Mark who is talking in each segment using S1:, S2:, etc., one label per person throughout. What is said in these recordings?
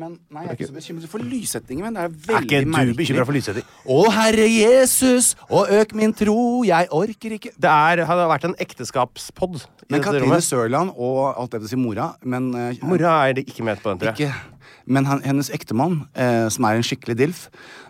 S1: Men nei, jeg er ikke så bekymret for lyssettingen min. Det er
S2: Er
S1: veldig
S2: ikke du
S1: merkelig.
S2: bekymra for lyssetting?
S1: Å, Herre Jesus, og øk min tro, jeg orker ikke
S2: Det er, hadde vært en ekteskapspod i
S1: Men
S2: dette
S1: Katrine
S2: rommet.
S1: Sørland og alt det vil si mora, men eh,
S2: Mora er det ikke med på den, tror jeg.
S1: ikke, Men han, hennes ektemann, eh, som er en skikkelig dilf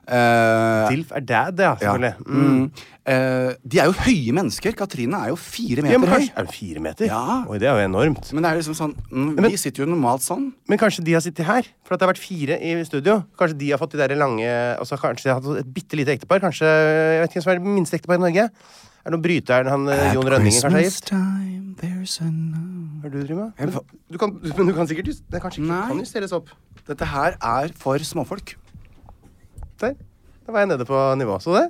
S1: eh,
S2: Dilf er dad, ja.
S1: ja.
S2: Selvfølgelig. Mm.
S1: Mm. Eh, de er jo høye mennesker. Katrine er jo fire
S2: Ja,
S1: meter
S2: men
S1: høy.
S2: kanskje, er det fire meter?
S1: Ja.
S2: Oi, det er jo enormt.
S1: Men det er liksom sånn mm,
S2: Men-
S1: Vi sitter jo normalt sånn.
S2: Men kanskje de har sittet her? For at det har vært fire i studio. Kanskje de har fått de der lange altså Kanskje de har hatt et bitte lite ektepar? Kanskje Jeg vet ikke hvem som er det minste ekteparet i Norge? Er det noen bryteren han eh, Jon Rønningen kanskje er gift?
S1: time, there's a no-
S2: Hva er det du driver med?
S1: Jeg-
S2: Men Du kan, men du kan sikkert just, Det er kanskje ikke
S1: Nei.
S2: kan justeres opp.
S1: Dette her er for småfolk.
S2: Der. Da var jeg nede på nivå. Så det?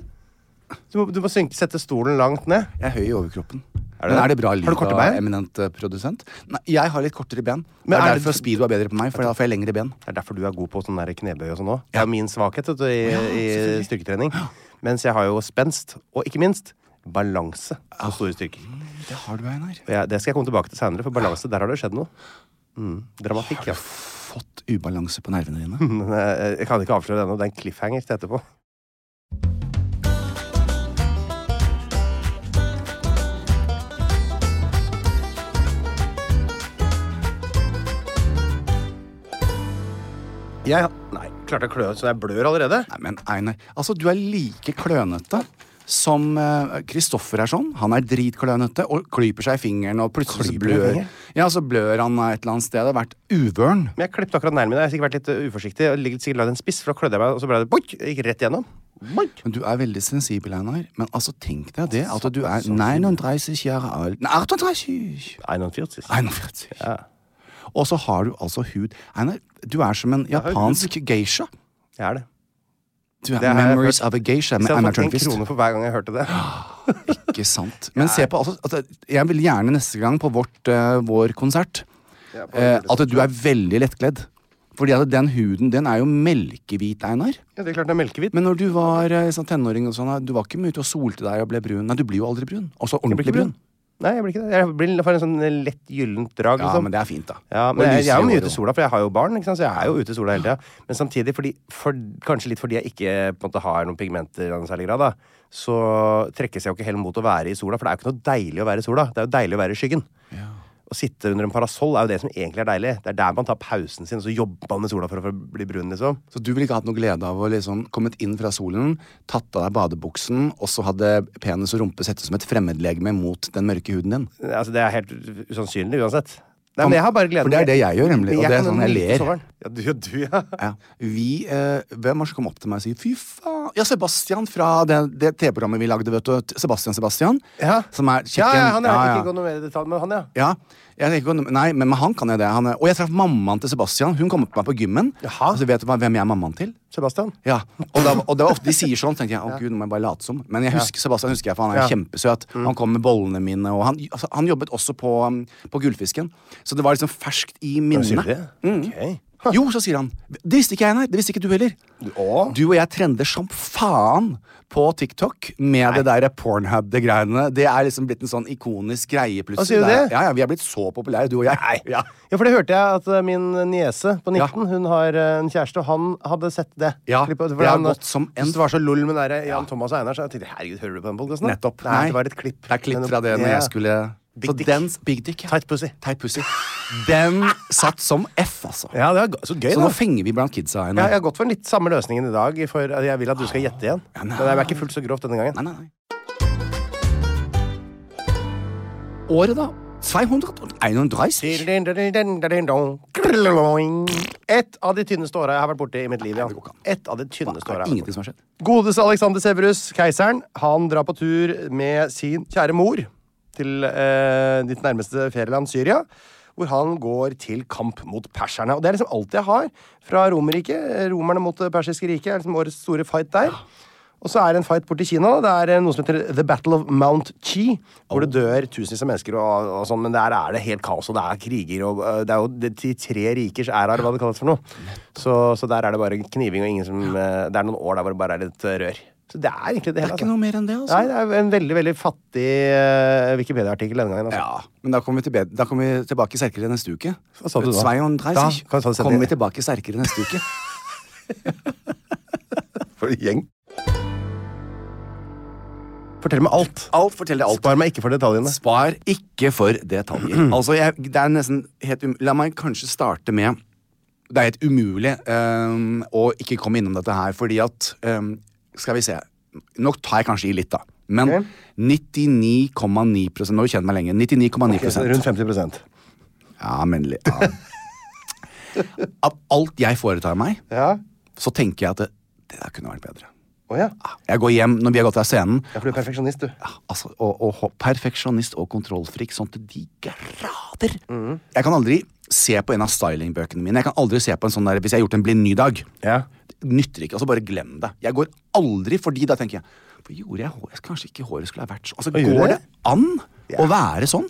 S2: Du må, du må synke, sette stolen langt ned.
S1: Jeg er høy i overkroppen.
S2: Er det
S1: Men
S2: det?
S1: er det bra
S2: Har du
S1: lyd
S2: korte
S1: av
S2: bein?
S1: eminent eh, produsent? Nei, jeg har litt kortere ben.
S2: Men
S1: det er,
S2: er det-
S1: derfor Speedo er bedre på meg, for da får jeg lengre ben.
S2: Det er derfor du er god på sånn der knebøy og sånn òg. Det er min svakhet vet du, i, i styrketrening. Mens jeg har jo spenst, og ikke minst balanse på store styrker.
S1: Det har du, Einar.
S2: Og jeg, det skal jeg komme tilbake til seinere, for balanse, der har det skjedd noe. Mm, dramatikk, ja.
S1: Fått ubalanse på nervene dine.
S2: Men, eh, Jeg kan ikke avsløre det ennå. Det er en cliffhanger til etterpå. Jeg Nei, klarte å klø ut så jeg blør allerede.
S1: Nei, men Einar, altså du er like klønete som eh, Kristoffer er sånn. Han er dritklønete og klyper seg i fingeren, og plutselig så
S2: Klyper i
S1: blør
S2: fingeren?
S1: Ja, så blør han eh, et eller annet sted. Det har vært uvøren.
S2: Men jeg klippte akkurat neglen min. Jeg har sikkert vært litt eh, uforsiktig. Jeg ligger sikkert lagd en spiss, for da klødde jeg meg, og så ble det boink! Jeg gikk rett igjennom. Boink!
S1: Men du er veldig sensibel, Einar. Men altså, tenk deg det, at du er 39 år alt. Nei, 38!
S2: 41.
S1: 41.
S2: Ja.
S1: Og så har du altså hud Einar, du er som en japansk geisha.
S2: Jeg er det.
S1: Du er
S2: Det har jeg
S1: Memories
S2: hørt.
S1: of a Geisha
S2: Hvis
S1: med
S2: jeg
S1: Einar
S2: hadde fått en
S1: Tørnquist.
S2: krone for hver gang jeg hørte det.
S1: Ikke sant. Men se på altså, at Jeg vil gjerne neste gang på vårt, eh, vår konsert eh, at du er veldig lettkledd. Fordi at den huden den er jo melkehvit, Einar.
S2: Ja, det er klart det er melkehvit.
S1: Men når du var eh, sånn tenåring, og sånn, du var ikke mye ute og solte deg og ble brun. Nei, du blir jo aldri brun. Også
S2: Jeg blir
S1: ordentlig
S2: ikke
S1: brun.
S2: brun. Nei, jeg blir ikke det. Jeg blir får en sånn lett gyllent drag,
S1: Ja,
S2: liksom.
S1: men det er fint, da.
S2: Ja,
S1: Og
S2: men jeg, jeg er jo
S1: lysere
S2: mye
S1: hår
S2: ute i
S1: også.
S2: sola, for jeg har jo barn. Ikke sant? Så jeg er jo ute i sola hele tida. Men samtidig, fordi, for, kanskje litt fordi jeg ikke på en måte, har noen pigmenter i noen særlig grad, da, så trekkes jeg jo ikke heller mot å være i sola. For det er jo ikke noe deilig å være i sola. Det er jo deilig å være i skyggen. Å sitte under en parasoll er jo det som egentlig er deilig. Det er der man tar pausen sin, og så jobber man med sola for å få bli brun, liksom.
S1: Så du ville ikke hatt noe glede av å liksom kommet inn fra solen, tatt av deg badebuksen, og så hadde penis og rumpe sett ut som et fremmedlegeme mot den mørke huden din?
S2: Altså, det er helt usannsynlig uansett. Nei,
S1: Kan-
S2: men jeg har bare gleden.
S1: for det er det jeg gjør, nemlig,
S2: Men
S1: og det er
S2: kan
S1: sånn jeg
S2: nyte
S1: ler.
S2: sommeren. Ja, du, ja, du, ja.
S1: Ja. Vi, eh, hvem var det som kom opp til meg og sa 'fy faen'? ja, Sebastian fra det, det TV-programmet vi lagde, vet du. Sebastian Sebastian.
S2: Ja.
S1: Som er
S2: Ja,
S1: kjekken.
S2: ja, han er,
S1: Ja,
S2: jeg
S1: ja.
S2: kan ikke gå noe mer i detalj, men han, ja.
S1: Ja, jeg tenker, ikke- nei, men med han kan jeg det. Han er, og jeg traff mammaen til Sebastian. Hun kom opp på meg på gymmen.
S2: Jaha.
S1: Og så vet du hva- hvem jeg er mammaen til?
S2: Sebastian.
S1: Ja, og, da, og det var ofte De sier sånn, tenker jeg. Å gud, nå må jeg bare late som. Men jeg husker Sebastian, husker jeg, for han er
S2: Ja. Mm.
S1: kjempesøt. Han kom med bollene mine, og han, altså, han jobbet også på, um, på Gullfisken. Så det var liksom ferskt i minnet.
S2: Sier du det? Ok.
S1: Jo, så sier han. Det visste ikke jeg, nei. Det visste ikke du heller.
S2: Å?
S1: Du og jeg trender som faen på TikTok med det der Pornhub-greiene. Det er liksom blitt en sånn ikonisk greie,
S2: Hva
S1: plutselig.
S2: sier du
S1: er-
S2: det?
S1: Ja, ja, Vi er blitt så populære, du og jeg. Ja.
S2: Ja, for det hørte jeg at eh, min niese på 19
S1: Ja.
S2: Hun har eh, en kjæreste, og han hadde sett det.
S1: Ja,
S2: Klippet, for
S1: det har
S2: han,
S1: gått som en-
S2: syntes Det var så lol med nære, Jan Thomas og Einar. Så jeg tenkte, herregud, hører du på den podcasten da?
S1: Nettopp.
S2: Nei, det var et klipp.
S1: Det er klipp fra det når
S2: Ja.
S1: jeg skulle
S2: Big
S1: Så
S2: dick.
S1: den Big dick. ja.
S2: Tight pussy.
S1: Tight pussy. Den satt som F, altså.
S2: Ja, det var g- så gøy,
S1: Så
S2: da.
S1: nå fenger vi blant kidsa. Einar.
S2: Ja, jeg har gått for litt samme løsningen i dag, for jeg vil at du skal gjette igjen.
S1: Ah. nei.
S2: Men det er ikke fullt så grovt denne gangen.
S1: Nei, nei, nei. Året, da? 231?
S2: Et av de tynneste åra jeg har vært borti i mitt liv. Ja.
S1: det går ikke an.
S2: Et av de tynneste åra.
S1: Ingenting som har skjedd.
S2: Godeste Alexander Severus, keiseren, han drar på tur med sin kjære mor til eh, ditt nærmeste ferieland, Syria. Hvor han går til kamp mot perserne. Og det er liksom alt jeg har fra Romerriket. Romerne mot det persiske riket er liksom årets store fight der. Og så er det en fight borti Kina. da. Det er eh, noe som heter The Battle of Mount Chi. Hvor det dør tusenvis av mennesker, og, og sånn, men der er det helt kaos. Og det er kriger, og eh, det er jo de, de tre rikers æra, eller hva det kalles for noe. Så, så der er det bare kniving, og ingen som eh, Det er noen år der hvor det bare er litt eh, rør. Så det er egentlig det hele.
S1: Ikke noe mer enn det, altså.
S2: Nei, det er en veldig, veldig fattig eh, Wikipedia-artikkel denne gangen. Altså.
S1: Ja, men da kommer vi, til bed- da kommer vi tilbake sterkere neste uke.
S2: Hva sa du da?
S1: 32.
S2: Da, hva sa du?
S1: kommer vi tilbake sterkere neste uke.
S2: For en gjeng. Fortell meg alt.
S1: Alt forteller alt.
S2: Spar meg ikke for detaljene.
S1: Spar ikke for detaljer. Altså, jeg, det er nesten helt um... La meg kanskje starte med Det er helt umulig ehm, å ikke komme innom dette her, fordi at ehm, Skal vi se. Nok tar jeg kanskje i litt, da. Men 99,9 Nå har du kjent meg lenge. 99,9
S2: Rundt 50
S1: Ja, men li- ja. Av alt jeg foretar meg,
S2: Ja.
S1: så tenker jeg at det, det der kunne vært bedre.
S2: Å ja.
S1: Jeg går hjem når vi har gått av scenen,
S2: Ja, for du er perfeksjonist, du.
S1: ja, altså, og, og ho- perfeksjonist og kontrollfrik sånn til de grader.
S2: Mm.
S1: Jeg kan aldri se på en av stylingbøkene mine. Jeg kan aldri se på en sånn der, Hvis jeg har gjort en blind ny dag.
S2: Ja.
S1: Det nytter ikke. altså Bare glem det. Jeg går aldri fordi da tenker jeg Hvorfor gjorde jeg håret? Kanskje ikke håret skulle ha vært sånn. Altså,
S2: gjør
S1: Går
S2: det?
S1: det an å være sånn?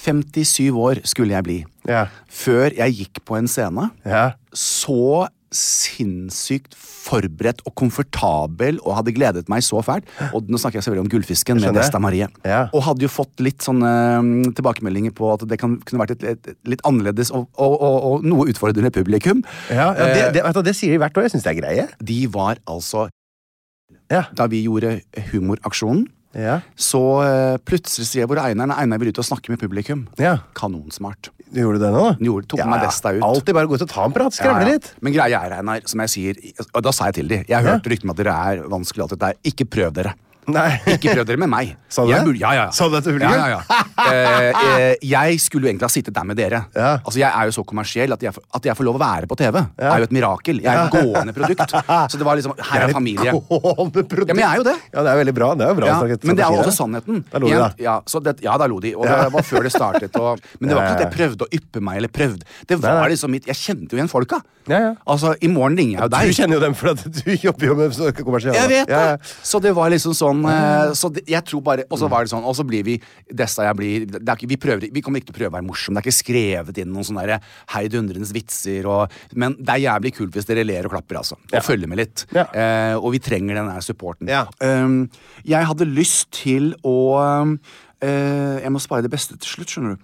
S1: 57 år skulle jeg bli.
S2: Ja.
S1: Før jeg gikk på en scene
S2: Ja.
S1: så sinnssykt forberedt og komfortabel og hadde gledet meg så fælt. Og nå snakker jeg selvfølgelig om Gullfisken med
S2: Skjønner.
S1: Nesta Marie.
S2: Ja.
S1: Og hadde jo fått litt sånne mm, tilbakemeldinger på at det kan, kunne vært et, et, et litt annerledes og, og, og, og noe utfordrende publikum.
S2: ja, ja det, det, vet du, det sier de hvert år. Jeg syns det er greie.
S1: De var altså
S2: Ja.
S1: Da vi gjorde Humoraksjonen,
S2: Ja.
S1: så eh, plutselig sier jeg hvor er Einar Nei, Einar vil ut og snakke med publikum.
S2: Ja.
S1: Kanonsmart.
S2: Du gjorde det nå? da?
S1: Gjorde- tok med meg Vesta ut.
S2: Alltid bare gå ut og ta en prat. Skravle
S1: Ja, ja.
S2: litt.
S1: Men greia er, Einar, som jeg sier, og da sa jeg til de Jeg har hørt ryktene om at dere er vanskelig og alt dette der. Ikke prøv dere.
S2: Nei.
S1: Ikke prøv dere med meg.
S2: Sa du
S1: jeg
S2: det?
S1: burde- Ja, ja, ja.
S2: Sa du det til publikum?
S1: Ja, ja, ja. Eh, eh, jeg skulle jo egentlig ha sittet der med dere.
S2: Ja.
S1: Altså, Jeg er jo så kommersiell at jeg, får- at jeg får lov å være på TV. er jo et mirakel. Jeg er et gående produkt. Så det var liksom Her er familie.
S2: Gående produkt.
S1: Ja, men jeg er jo det.
S2: Ja, det er veldig bra. Det er jo bra
S1: Ja,
S2: strategi,
S1: men det er jo
S2: da.
S1: også sannheten.
S2: Da lo du,
S1: Igjen,
S2: da.
S1: Ja, så det, ja, da lo de. Og det var før det startet. Og, men det var ikke at jeg prøvde å yppe meg. eller prøvde. Det
S2: Nei,
S1: var
S2: nei.
S1: liksom mitt, Jeg kjente jo igjen folka.
S2: Ja, ja.
S1: Altså, I morgen ringer jeg jo deg.
S2: Du kjenner jo dem, for at du jobber jo med sånne kommersielle.
S1: Jeg vet det!
S2: Ja, ja.
S1: Så det var liksom sånn eh, så det, jeg tror bare, Og så var det sånn, og så blir vi Dessa jeg blir det er ikke, vi, prøver, vi kommer ikke til å prøve å være morsom. Det er ikke skrevet inn noen sånn sånne der heidundrende vitser. Og, men det er jævlig kult hvis dere ler og klapper, altså. Og følger med litt.
S2: Ja.
S1: Eh, og vi trenger den her supporten.
S2: Ja.
S1: Um, jeg hadde lyst til å um, eh, Jeg må spare det beste til slutt, skjønner du.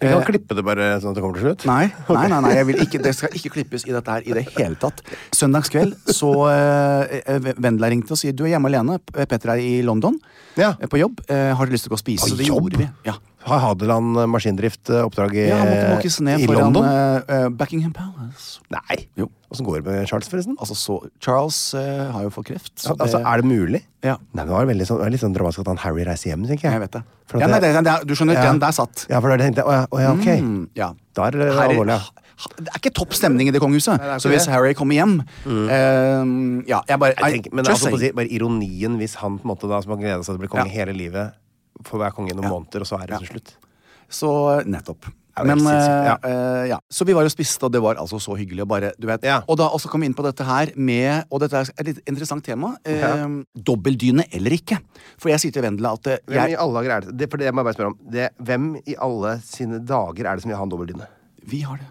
S2: Du kan klippe det bare sånn at det kommer til slutt.
S1: Nei, nei, nei, nei jeg vil ikke, det skal ikke klippes i dette her i det hele tatt. Søndagskveld så eh, eh, Vendela ringte og sier du er hjemme alene. P- Petter er i London
S2: Ja.
S1: eh, på jobb. Eh, har du lyst til å gå og spise?
S2: På
S1: Så det
S2: jobb?
S1: gjorde vi. Ja.
S2: Har Hadeland maskindrift eh, oppdrag i,
S1: ja, han måtte måkes ned
S2: i
S1: foran
S2: London?
S1: eh, eh, Buckingham Palace.
S2: Nei.
S1: Jo.
S2: Åssen går det med Charles, forresten?
S1: Altså, så Charles eh, har jo fått kreft. Så
S2: altså, Er det mulig?
S1: Ja.
S2: Nei, men det var veldig sånn, det var litt sånn dramatisk at han Harry reiser hjem, tenker jeg.
S1: Jeg vet det.
S2: For at
S1: Ja, nei, det, det, er- du skjønner, den der satt.
S2: Ja, for da tenkte jeg, å ja, å ja, ok.
S1: Mm, ja.
S2: Da er det
S1: Harry,
S2: alvorlig, ja.
S1: Det er ikke topp stemning i det kongehuset.
S2: det er ikke
S1: så hvis
S2: det. Mm.
S1: Harry kommer hjem eh, Ja, jeg bare
S2: Jeg
S1: I-
S2: tenker, men
S1: just
S2: altså, på å si,
S1: saying.
S2: bare ironien hvis han på en måte da, som har gleda seg til å bli konge
S1: Ja.
S2: hele livet, får være konge i noen måneder, og så er det til slutt.
S1: Så nettopp.
S2: Ja, det er
S1: Men
S2: helt sinnssykt,
S1: eh, eh, ja. Så vi var og spiste, og det var altså så hyggelig. Og bare, du vet
S2: Ja.
S1: Og da også kom vi inn på dette her med Og dette er et litt interessant tema. Eh,
S2: Ja.
S1: Dobbeldyne eller ikke. For jeg sier til Vendela at eh,
S2: Hvem i
S1: jeg,
S2: alle dager er det, det, for det må jeg bare spørre om. Det, hvem i alle sine dager er det som vil ha en dobbeldyne?
S1: vi har det.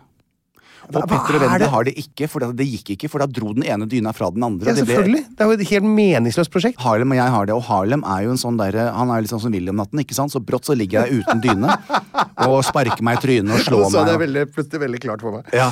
S2: Hva-
S1: Og Petter
S2: hva
S1: og
S2: er
S1: Vendela
S2: det?
S1: har det ikke, for det, det gikk ikke, for da dro den ene dyna fra den andre.
S2: Ja,
S1: og det ble-
S2: selvfølgelig. Det er jo et helt meningsløst prosjekt.
S1: Harlem og jeg har det, og Harlem er jo en sånn der, han er litt sånn som William Natten, ikke sant? Så brått så ligger jeg uten dyne og sparker meg i trynet og slår
S2: Og så er
S1: meg.
S2: det veldig, plutselig veldig klart for meg.
S1: Ja.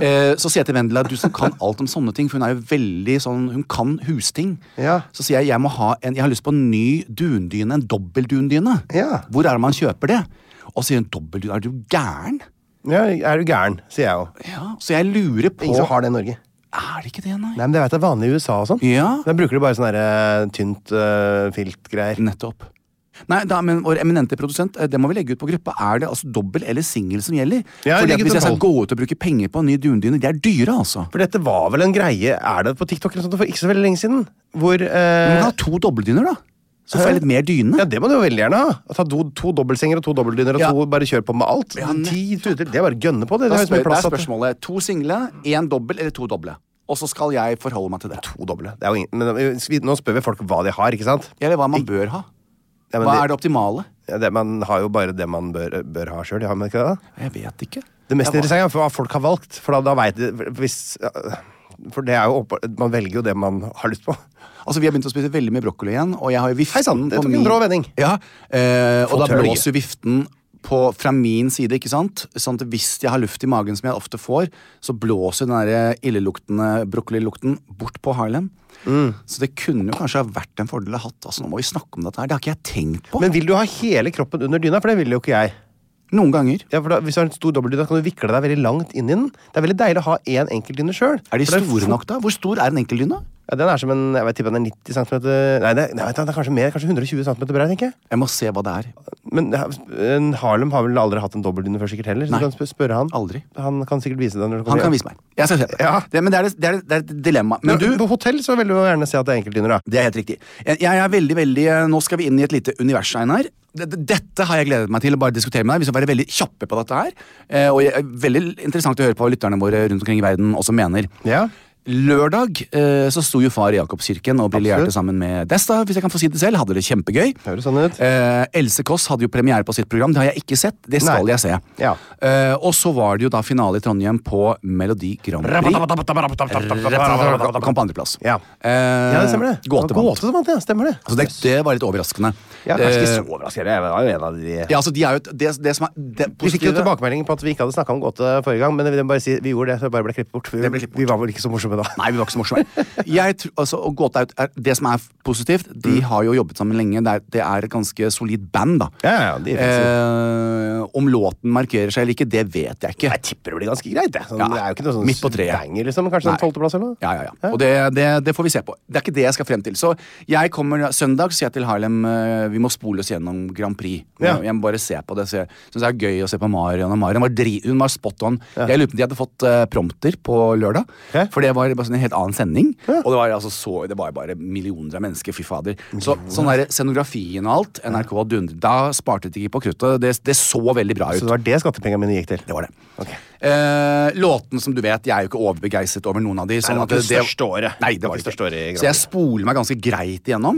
S1: Eh, så sier jeg til Vendela, du som kan alt om sånne ting, for hun er jo veldig sånn, hun kan husting.
S2: Ja.
S1: Så sier jeg jeg må ha en, jeg har lyst på en ny dundyne, en dobbeltdundyne.
S2: Ja.
S1: Hvor er det man kjøper det? Og så sier hun dobbeltdun, er du gæren?
S2: Ja, er du gæren, sier jeg jo.
S1: Ja. Så jeg lurer på
S2: Ingen som har det i Norge.
S1: Er det ikke det, nei?
S2: Nei, men det vet jeg er vanlig i USA og sånn.
S1: Ja.
S2: Der bruker de bare sånn derre tynt uh, filt-greier.
S1: Nettopp. Nei, da, men Vår eminente produsent, eh, det må vi legge ut på gruppa. Er det altså dobbel eller singel som gjelder?
S2: Ja,
S1: Fordi at
S2: legg ut
S1: Hvis
S2: en
S1: jeg skal
S2: poll.
S1: gå ut og bruke penger på en ny dundyne, de er dyre, altså.
S2: For dette var vel en greie Er det på TikTok eller sånt for ikke så veldig lenge siden? Hvor
S1: Men
S2: eh,
S1: da to dobbeldyner, da. Så får jeg litt mer dyne.
S2: Ja, det må du jo veldig gjerne ha. Ta do, to dobbeltsenger og to dobbeltdyner og
S1: Ja.
S2: to bare kjør på med alt.
S1: Ja, nettopp.
S2: Ti tuter, det er bare å gønne på,
S1: Da
S2: det. Det er jo så
S1: spør,
S2: mye
S1: da
S2: plass
S1: er
S2: at
S1: spørsmålet to single, én dobbel eller to doble. Og så skal jeg forholde meg til det.
S2: to doble. Det er jo ingen, men eh, vi- nå spør vi folk hva de har, ikke sant?
S1: Eller hva man bør ha.
S2: Ja, men
S1: Hva
S2: det-
S1: er det optimale?
S2: Ja, det, man har jo bare det man bør, eh, bør ha sjøl, har man ikke det? da?
S1: Jeg vet ikke.
S2: Det mest
S1: Jeg var-
S2: interessante er hva folk har valgt. For da, da vet de hvis, For det er jo åpenbart- Man velger jo det man har lyst på.
S1: Altså, Vi har begynt å spise veldig mye brokkoli igjen. Og jeg har jo viften
S2: Hei sann, det
S1: på
S2: tok en
S1: min-
S2: brå vending.
S1: Ja, eh, Og da
S2: Fått høre det
S1: blåser jo viften på, fra min side, ikke sant? Sånn at hvis jeg har luft i magen, som jeg ofte får, så blåser den der eh, illeluktende brokkolilukten bort på Harlem.
S2: Mm.
S1: Så det kunne jo kanskje ha vært en fordel å ha hatt. Altså, nå må vi snakke om dette her. Det har ikke jeg tenkt på.
S2: Men vil du ha hele kroppen under dyna? For det vil jo ikke jeg.
S1: Noen ganger.
S2: Ja, for da, hvis du har en stor dobbeltdyne, kan du vikle deg veldig langt inn i den. Det er veldig deilig å ha én enkeltdyne sjøl.
S1: Er de store nok, da? Hvor stor er en enkeltdyne?
S2: Ja, den er som en jeg vet, tipper den er 90 cm Nei, det, nei, vet du, den er kanskje mer. Kanskje 120 cm bred, tenker jeg.
S1: Jeg må se hva det er.
S2: Men ja, en Harlem har vel aldri hatt en dobbeltdyne før, sikkert heller. Så
S1: Nei.
S2: du kan sp- spørre han.
S1: Aldri.
S2: Han kan sikkert vise deg når du
S1: Han
S2: kommer
S1: kan
S2: hjem.
S1: vise meg. Jeg skal se på det.
S2: Ja.
S1: det men det er, det, det er, det er et dilemma. Men du,
S2: På hotell så vil du jo gjerne se at det er enkeltdyner, da.
S1: Det er helt riktig. Jeg, jeg er veldig, veldig Nå skal vi inn i et lite univers, Einar. D- d- Dette har jeg gledet meg til å bare diskutere med deg. Vi skal være veldig kjappe på dette her. Eh, Og jeg, veldig interessant å høre på hva lytterne våre rundt omkring i verden også mener.
S2: Ja.
S1: Lørdag eh, så sto jo far i Jakobskirken og briljerte
S2: Absolutt.
S1: sammen med Desta, hvis jeg kan få si det selv. Hadde det kjempegøy.
S2: Høres sånn ut.
S1: Eh, Else Kåss hadde jo premiere på sitt program. Det har jeg ikke sett. Det skal
S2: Nei.
S1: jeg se.
S2: Ja.
S1: Eh, og så var det jo da finale i Trondheim på Melodi Grand Prix. Kom på andreplass.
S2: Ja.
S1: Eh,
S2: Ja, det stemmer det.
S1: Gåte vant.
S2: Gåte som vant, ja. Stemmer det.
S1: Så det, det var litt overraskende.
S2: Ja, kanskje ikke
S1: Eh,
S2: så overraskende. Jeg var jo en av de
S1: ja, altså, de er jo, et- det, det som er det
S2: Vi fikk jo
S1: positive-
S2: tilbakemelding på at vi ikke hadde snakka om gåte forrige gang, men jeg vil bare si, vi gjorde det, så det bare ble klippet bort. Vi,
S1: ble klippet
S2: vi var vel ikke så morsomme da.
S1: Nei, vi var ikke så morsomme. Jeg tr- altså, og Gåte er, jo et- er, det som er positivt,
S2: Mm.
S1: de har jo jobbet sammen lenge. Det er, det er et ganske solid band, da.
S2: Ja, ja, ja, de er fint,
S1: eh, om låten markerer seg eller ikke, det vet jeg ikke.
S2: Jeg tipper det blir ganske greit. Det, sånn,
S1: Ja.
S2: det er jo ikke noe sånn
S1: Midt på treet.
S2: banger, liksom. Kanskje
S1: Nei.
S2: sånn tolvteplass eller noe?
S1: Ja, ja, ja. Og det, det, det får vi se på. Det er ikke det jeg skal frem til. Så jeg kommer søndag, sier jeg til Harlem eh, vi må spole oss gjennom Grand Prix.
S2: Ja.
S1: Jeg må bare se på det. Så jeg syns det er gøy å se på Marion. Og Marion var dri hun var spot on. Jeg lurer på om de hadde fått eh, prompter på lørdag.
S2: Ja.
S1: For det var bare sånn en helt annen sending. Og det var altså så Det var bare millioner av mennesker. Fy fader. Så, sånn der, scenografien og alt, NRK dundret Da sparte de ikke på kruttet. Det, det så veldig bra ut.
S2: Så det var det skattepengene mine gikk til?
S1: Det var det.
S2: Ok.
S1: Eh, låten, som du vet, jeg er jo ikke overbegeistret over noen av de. sånn
S2: det var
S1: at
S2: ikke det største året.
S1: Nei,
S2: Det
S1: det
S2: var
S1: var ikke.
S2: ikke det største året i Mm.
S1: Så jeg spoler meg ganske greit igjennom.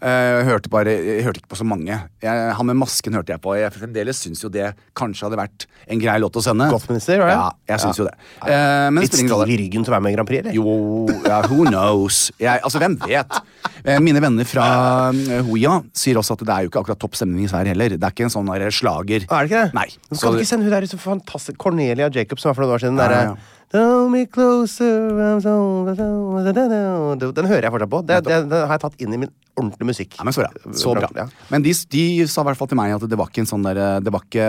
S1: Eh, hørte bare, jeg hørte ikke på så mange. Jeg, han med masken hørte jeg på. Jeg fremdeles syns jo det kanskje hadde vært en grei låt å sende.
S2: Godsminister, var det?
S1: Ja, jeg syns
S2: Ja.
S1: jo det. Eh, men det
S2: Litt
S1: spiller ingen rolle.
S2: stiv i ryggen til å være med i Grand Prix, eller?
S1: Jo, ja, who knows? Jeg, altså, hvem vet? Eh, Mine venner fra eh, Hoia sier også at det er jo ikke akkurat topp stemning i Sverige heller. Det er ikke en sånn der slager.
S2: Ah, Er det ikke det?
S1: Nei.
S2: Men
S1: Så
S2: Skal du
S1: det-
S2: ikke sende hun der så fantastisk Cornelia Jacobs, som var for noen år siden. den
S1: Ja,
S2: derre
S1: ja, ja.
S2: Hold me closer I'm so- Den hører jeg fortsatt på. Det, det, den har jeg tatt inn i min ordentlige musikk.
S1: Ja, men så bra. Så bra.
S2: Ja.
S1: Men de, de sa i hvert fall til meg at det var ikke en sånn der, det var ikke,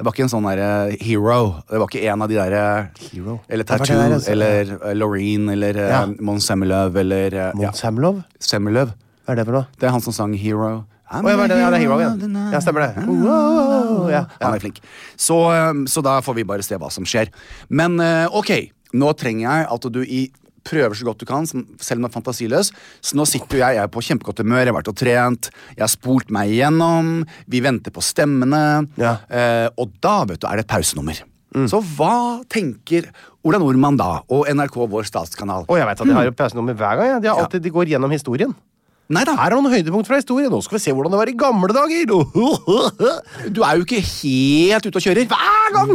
S1: det var ikke en sånn der eh, hero. Det var ikke en av de der eh,
S2: Hero?
S1: Eller
S2: Det var
S1: Tattoo
S2: det der, altså.
S1: eller eh, Loreen eller eh,
S2: Ja.
S1: Mons Semmeløv eller eh, ja,
S2: Mons Hamlov?
S1: Semmeløv.
S2: Hva er det for noe?
S1: Det er han som sang Hero. I'm
S2: Å, ja, var det- ja, det er Hero Again.
S1: the hero of the
S2: Ja, stemmer det.
S1: night.
S2: Wow, ja, ja.
S1: Han er flink. Så, eh, så da får vi bare se hva som skjer. Men eh, ok, nå trenger jeg at du i prøver så godt du kan, som- selv om du er fantasiløs. Så nå sitter jo jeg, jeg er på kjempegodt humør, jeg har vært og trent, jeg har spolt meg igjennom, vi venter på stemmene.
S2: Ja. Mm.
S1: Eh, og da, vet du, er det pausenummer. Så hva tenker Ola Nordmann da, og NRK, vår statskanal?
S2: Å, jeg vet at
S1: Hmm.
S2: de har jo pausenummer hver gang. Ja. De, har alltid, de går gjennom historien.
S1: Nei da,
S2: Her er noen høydepunkt fra historien. Nå skal vi se hvordan det var i gamle dager!
S1: Du er jo ikke helt ute og kjører. Hver gang!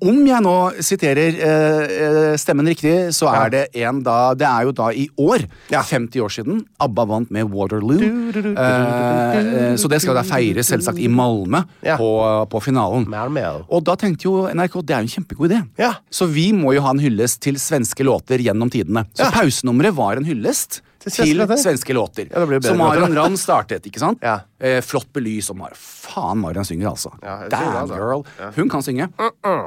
S1: Om jeg nå siterer eh, eh, stemmen riktig, så er det en da Det er jo da i år, 50 år siden, ABBA vant med Waterloo. Eh, eh, så det skal da feires selvsagt i Malmö
S2: Ja.
S1: på, på finalen.
S2: Malmö.
S1: Og da tenkte jo NRK det er jo en kjempegod idé.
S2: Ja.
S1: Så vi må jo ha en hyllest til svenske låter gjennom tidene. Så
S2: Ja.
S1: pausenummeret var en hyllest.
S2: Til svenske
S1: Til
S2: låter.
S1: svenske låter.
S2: Ja, det blir jo bedre
S1: så
S2: låter, da.
S1: Marion Ravn startet, ikke sant?
S2: Ja.
S1: Eh, flott belys og Mar Faen, Marion synger, altså.
S2: Ja, jeg
S1: Damn,
S2: sier det, altså. Mm,
S1: girl. Hun kan synge.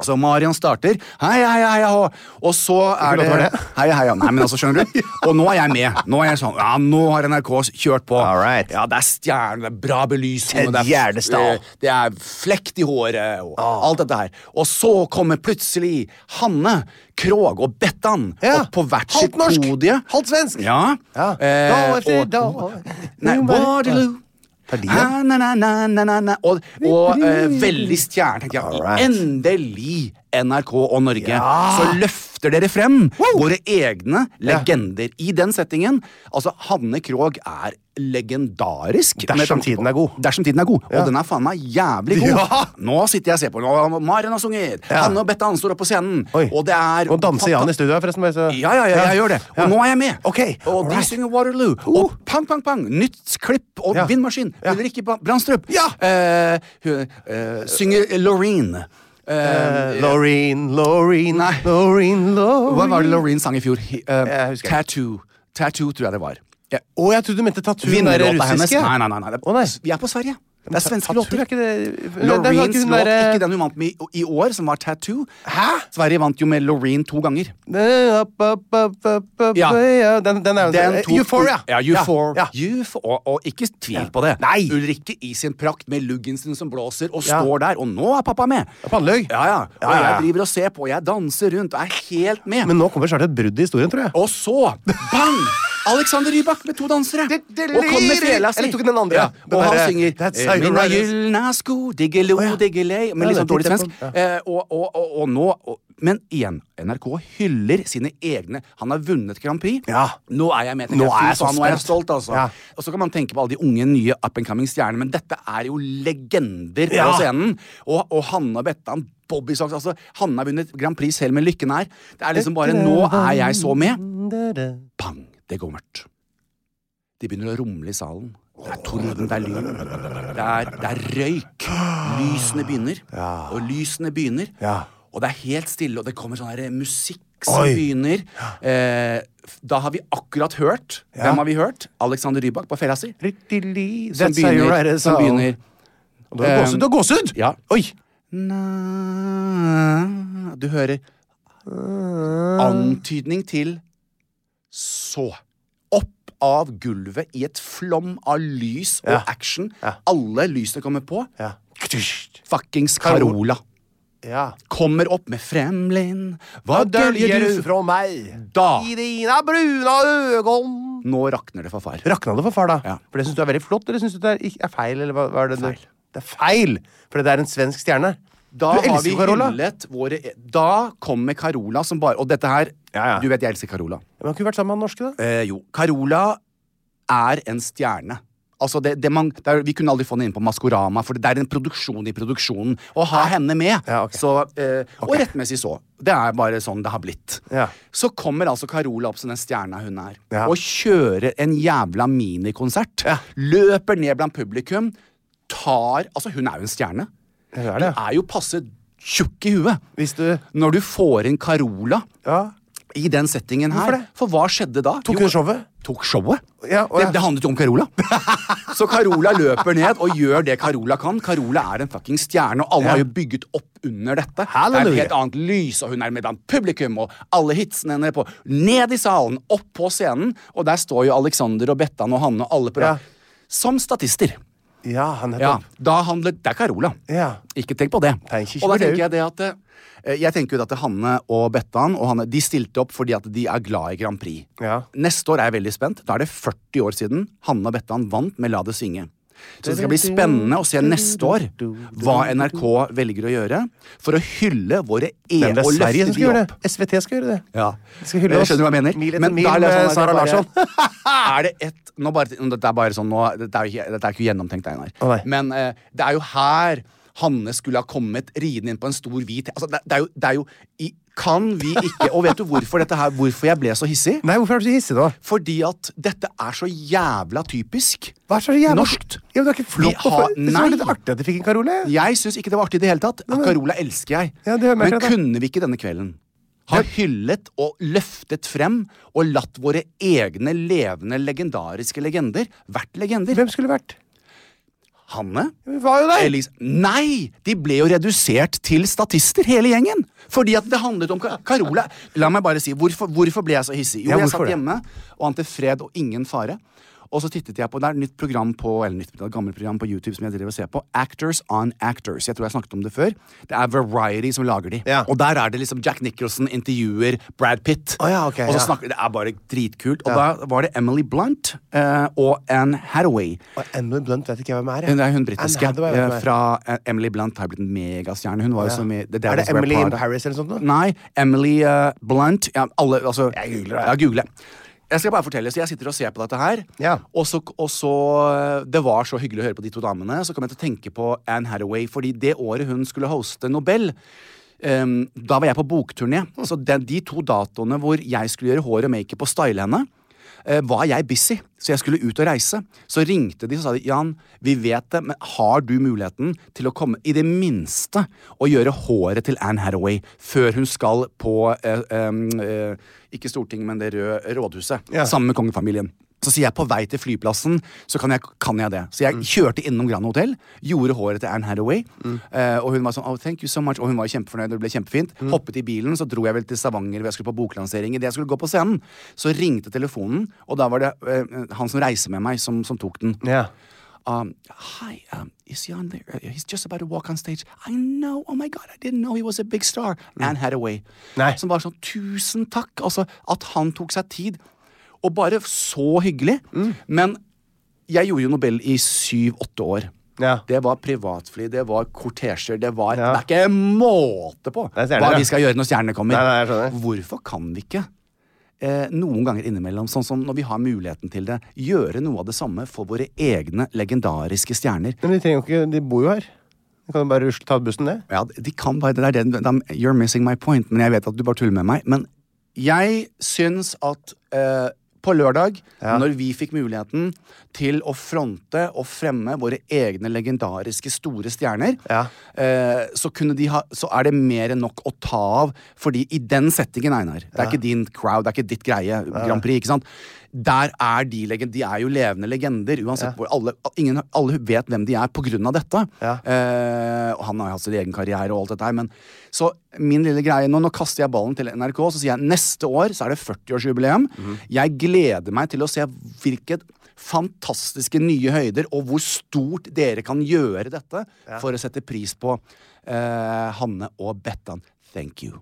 S1: Så Marion starter. Hei, hei, hei, hei. Og så er
S2: låt
S1: det,
S2: var det?
S1: Hei, hei, ja. Nei, men altså, skjønner du? Og nå er jeg med. Nå er jeg sånn, ja, nå har NRK kjørt på.
S2: All right.
S1: Ja, det er stjerner, det er bra belysning, og det er,
S2: Ted Gärdestad.
S1: eh, det er flekt i håret, og
S2: Ah.
S1: alt dette her. Og så kommer plutselig Hanne, Krog og Bettan
S2: Ja.
S1: opp på hvert sitt
S2: Halvt norsk,
S1: podie.
S2: halvt svensk.
S1: Ja.
S2: Ja.
S1: Eh,
S2: Da efter
S1: og-
S2: da.
S1: Nei, Waterloo.
S2: Tar de
S1: Ah, na, na, na, na, na, na. Og, og eh, veldig stjerne, tenkte jeg.
S2: Alright.
S1: Endelig NRK og Norge. Så løfter dere frem våre egne legender. I den settingen Altså, Hanne Krogh er legendarisk.
S2: Dersom
S1: med tanke på-
S2: tiden er god.
S1: Dersom tiden er god.
S2: Ja.
S1: Og den er faen meg jævlig god.
S2: Ja.
S1: Nå sitter jeg og ser på. Nå, Maren har sunget.
S2: Ja.
S1: Hanne og Bettan står oppe på scenen.
S2: Oi.
S1: Og det er
S2: Og danser Jan i studio her, forresten. bare så-
S1: ja, ja, ja, jeg gjør det. Og
S2: Ja.
S1: nå er jeg med.
S2: Ok,
S1: Og de
S2: alright.
S1: synger Waterloo. Og pang, pang, pang. Nytt klipp og
S2: Ja.
S1: vindmaskin.
S2: Ja.
S1: Ulrikke Ba- Brandstrup.
S2: Ja.
S1: Eh, hun eh, synger Loreen.
S2: Eh, Loreen, Loreen,
S1: Nei.
S2: Loreen, Loreen
S1: Hva var det Loreen sang i fjor? Hi- eh,
S2: Jeg husker ikke.
S1: Tattoo. Tattoo, tror jeg det var. Ja.
S2: Å, jeg trodde du mente tattoo.
S1: Vinnerlåta hennes. Nei, nei, nei. nei.
S2: Å, nei.
S1: Vi er på Sverige. Det er svenske
S2: Tattoo
S1: låter.
S2: er ikke det- Nei, det var ikke
S1: Loreens
S2: hun eh-
S1: låt,
S2: derre-
S1: ikke den hun vant med i, i år, som var Tattoo. Hæ? Sverige vant jo med Loreen to ganger. Ja.
S2: Ja. Den, den er
S1: Den
S2: eh,
S1: tok-
S2: Euphoria.
S1: Ja, Euphor-
S2: Ja.
S1: Euphor- og, og ikke tvil på det.
S2: Nei.
S1: Ulrikke i sin prakt med Luggensen som blåser, og
S2: Ja.
S1: står der. Og nå er pappa med!
S2: Panneløg.
S1: Ja, ja. Og
S2: Ja, ja, ja.
S1: jeg driver og ser på, og jeg danser rundt, og er helt med.
S2: Men nå kommer snart et brudd i historien, tror jeg.
S1: Og så, bang! Alexander Rybak med to dansere. Og kom med fjela si.
S2: Eller tok hun den andre?
S1: Ja,
S2: Den
S1: og han
S2: derre-
S1: synger
S2: That's
S1: eh,
S2: how you
S1: Mina
S2: ride it.
S1: gylna sko, diggelo,
S2: Å, ja.
S1: diggelei.
S2: Ja,
S1: Men litt
S2: det
S1: sånn dårlig
S2: tenkte jeg
S1: svensk.
S2: på.
S1: Eh, og, og, og, og nå og, Men igjen, NRK hyller sine egne. Han har vunnet Grand Prix.
S2: Ja.
S1: Nå er jeg med.
S2: Nå
S1: tenker
S2: er
S1: Fy
S2: jeg så
S1: faen, nå er jeg
S2: spent.
S1: stolt, altså.
S2: Ja.
S1: Og så kan man tenke på alle de unge, nye up and coming stjernene, men dette er jo legender på
S2: Ja.
S1: scenen. Og, og Hanne og Bettan, Bobby Socks altså, Hanne har vunnet Grand Prix selv med lykken her. Det er liksom bare Nå er jeg så med. Pang! Det går mørkt. De begynner å rumle i salen. Det er torden, det er lyn, det er, det er røyk. Lysene begynner, og lysene begynner.
S2: Ja.
S1: Og det er helt stille, og det kommer sånn her musikk som
S2: Oi.
S1: begynner. Eh, f- da har vi akkurat hørt.
S2: Ja.
S1: Hvem har vi hørt? Alexander Rybak på fella si.
S2: Rittili,
S1: Som
S2: that's how you ride
S1: begynner. Som
S2: it, sa han.
S1: begynner
S2: Og Du har gåsehud! Du har gåsehud!
S1: Ja.
S2: Oi!
S1: na, Du hører antydning til så. Opp av gulvet i et flom av lys og
S2: Ja.
S1: action.
S2: Ja.
S1: Alle lysene kommer på.
S2: Ja.
S1: Fuckings
S2: Carola.
S1: Carola
S2: ja.
S1: kommer opp med 'Fremlin, hva
S2: Hva døljer du fra meg
S1: Da.
S2: i dine bruna øgon?
S1: Nå rakner det for far.
S2: Rakna det for far, da?
S1: Ja.
S2: For det syns du er veldig flott, eller syns du det er, ikke- er feil? Eller hva, hva er det du-
S1: Feil.
S2: Det er feil! For det er en svensk stjerne.
S1: Da
S2: du
S1: har
S2: elsker
S1: vi
S2: Carola.
S1: hyllet våre Da kommer Carola som bare Og dette her
S2: Ja, ja.
S1: Du vet jeg elsker Carola.
S2: Men han kunne vært sammen med han norske, da.
S1: Eh, jo, Carola er en stjerne. Altså det, det man, det er, vi kunne aldri få henne inn på Maskorama, for det er en produksjon i produksjonen. Å ha henne med!
S2: Ja, ok.
S1: så, eh, Og rettmessig så. Det er bare sånn det har blitt.
S2: Ja.
S1: Så kommer altså Carola opp som den stjerna hun er,
S2: Ja.
S1: og kjører en jævla minikonsert. Løper ned blant publikum, tar Altså, hun er jo en stjerne.
S2: Hun er
S1: Hun
S2: det, ja.
S1: er jo passe tjukk i huet.
S2: Hvis du
S1: Når du får inn Carola
S2: Ja.
S1: i den settingen her.
S2: Hvorfor det?
S1: For hva skjedde da?
S2: Tok
S1: Jo,
S2: hun showet?
S1: Tok showet?
S2: Ja, og ja.
S1: det, det handlet jo om Carola. Så Carola løper ned og gjør det Carola kan. Carola er en fucking stjerne, og alle
S2: Ja.
S1: har jo bygget opp under dette. Det
S2: Halleluja.
S1: er et helt annet lys, og hun er med blant publikum, og alle hitsene henne på Ned i salen, opp på scenen, og der står jo Alexander og Bettan og Hanne og alle på
S2: Ja.
S1: rad. Som statister.
S2: Ja, han
S1: Ja,
S2: nettopp.
S1: da handlet Det er Carola.
S2: Ja.
S1: Ikke tenk på det.
S2: Tenk ikke
S1: og da
S2: på det.
S1: tenker jeg det at eh, Jeg tenker jo at Hanne og Bettan og Hanne, de stilte opp fordi at de er glad i Grand Prix.
S2: Ja.
S1: Neste år er jeg veldig spent. Da er det 40 år siden Hanne og Bettan vant med La det synge. Så det skal bli spennende å se neste år hva NRK velger å gjøre for å hylle våre e-
S2: Men det
S1: og
S2: er Sverige
S1: løfte
S2: som
S1: de
S2: skal gjøre
S1: opp.
S2: det. SVT skal gjøre det.
S1: Ja.
S2: De skal hylle
S1: jeg
S2: oss.
S1: skjønner hva jeg mener.
S2: Mil etter
S1: Men
S2: mil
S1: da er det
S2: med
S1: sånn at
S2: Sara
S1: det
S2: Larsson.
S1: er det ett nå bare, Dette er bare sånn nå, dette, er jo ikke, dette er ikke gjennomtenkt, Einar.
S2: Å, nei.
S1: Men eh, det er jo her Hanne skulle ha kommet ridende inn på en stor hvit altså, det, det er jo, det er jo i, Kan vi ikke Og vet du hvorfor, dette her, hvorfor jeg ble så hissig?
S2: Nei, hvorfor er du så hissig nå?
S1: Fordi at dette er så jævla typisk
S2: Hva er så jævla
S1: norskt.
S2: Ja, men det er ikke flott.
S1: Vi har-
S2: og- Det var litt
S1: nei.
S2: artig at de fikk en Karole.
S1: Jeg syns ikke det var artig i det hele tatt. Carola elsker jeg.
S2: Ja, det hører meg
S1: Men
S2: akkurat det.
S1: kunne vi ikke denne kvelden ha hyllet og løftet frem og latt våre egne levende legendariske legender vært legender?
S2: Hvem skulle vært?
S1: Hanne?
S2: Hun var jo der!
S1: Elise. Nei! De ble jo redusert til statister, hele gjengen. Fordi at det handlet om Ka- Carola. La meg bare si, hvorfor, hvorfor ble jeg så hissig? Jo,
S2: Ja,
S1: jeg
S2: hvorfor
S1: satt
S2: det?
S1: hjemme og ante fred og ingen fare. Og så tittet jeg på det er et nytt program på, eller nytt, det er et gammelt program på YouTube som jeg driver og ser på. Actors on Actors. Jeg tror jeg snakket om det før. Det er Variety som lager de.
S2: Ja.
S1: Og der er det liksom Jack Nicholson intervjuer Brad Pitt.
S2: Å ja, ok,
S1: og så
S2: ja.
S1: snakker, Det er bare dritkult. Og da var det Emily Blunt eh, og Anne Hathaway.
S2: Og Emily Blunt vet ikke jeg hvem er. jeg.
S1: Hun er hun
S2: Anne
S1: britiske.
S2: Hathaway, vet du
S1: eh,
S2: hvem er.
S1: Fra eh, Emily Blunt har blitt en megastjerne. Hun var jo
S2: Ja.
S1: så mye The
S2: Er det
S1: Devil's Wear
S2: Emily in
S1: Prada.
S2: Paris eller sånt noe?
S1: Nei. Emily eh, Blunt. Ja, alle, altså
S2: Jeg googler det.
S1: Ja, google. Jeg skal bare fortelle, så jeg sitter og ser på dette her.
S2: Ja.
S1: Og så, og så eh, Det var så hyggelig å høre på de to damene. Så kom jeg til å tenke på Anne Hathaway, fordi det året hun skulle hoste Nobel ehm, Da var jeg på bokturné.
S2: Mm.
S1: Så den, de to datoene hvor jeg skulle gjøre hår og makeup og style henne, eh, var jeg busy. Så jeg skulle ut og reise. Så ringte de og sa de, Jan, vi vet det, men har du muligheten til å komme i det minste å gjøre håret til Anne Hathaway før hun skal på eh, em, eh, Ikke Stortinget, men det røde rådhuset.
S2: Ja.
S1: Sammen med kongefamilien. Så sier jeg på vei til flyplassen, så kan jeg, kan jeg det. Så jeg kjørte innom Grand Hotel, gjorde håret til Anne Hathaway, eh, og hun var sånn oh, thank you so much, og hun var kjempefornøyd, og det ble kjempefint. Hoppet i bilen, så dro jeg vel til Stavanger, hvor jeg skulle på boklansering. Idet jeg skulle gå på scenen, så ringte telefonen, og da var det eh, han som reiser med meg, som, som tok den.
S2: Ja.
S1: Um, hi, um, is he on there? Uh, He's just about to walk on stage. I know. Oh my God, I didn't know he was a big star. Anne Hathaway.
S2: Nei.
S1: Som var sånn tusen takk. Altså, at han tok seg tid. Og bare så hyggelig. Men jeg gjorde jo Nobel i syv-åtte år.
S2: Ja.
S1: Det var privatfly, det var kortesjer, det var
S2: Ja.
S1: Det er ikke måte på
S2: Det er stjerner,
S1: hva
S2: ja.
S1: vi skal gjøre når stjernene kommer.
S2: Nei, nei, jeg skjønner.
S1: Hvorfor kan vi ikke eh, noen ganger innimellom, sånn som når vi har muligheten til det, gjøre noe av det samme for våre egne legendariske stjerner?
S2: Men de trenger jo ikke De bor jo her. De kan jo bare rusle, ta bussen, det.
S1: Ja, de kan bare det der, det, de, You're missing my point, men jeg vet at du bare tuller med meg. Men jeg syns at eh, på lørdag, når vi fikk muligheten til å fronte og fremme våre egne legendariske store stjerner,
S2: Ja.
S1: eh, så, kunne de ha, så er det mer enn nok å ta av. Fordi i den settingen, Einar Det er ikke din crowd, det er ikke ditt greie, Grand Prix. ikke sant? Der er De legen- de er jo levende legender. uansett hvor alle, ingen, alle vet hvem de er på grunn av dette.
S2: Ja.
S1: Eh, og han har jo hatt sin egen karriere og alt dette her. Men, så min lille greie nå, nå kaster jeg ballen til NRK så sier jeg neste år så er det 40-årsjubileum. Jeg gleder meg til å se hvilket fantastiske nye høyder, og hvor stort dere kan gjøre dette for å sette pris på eh, Hanne og Bettan. Thank you.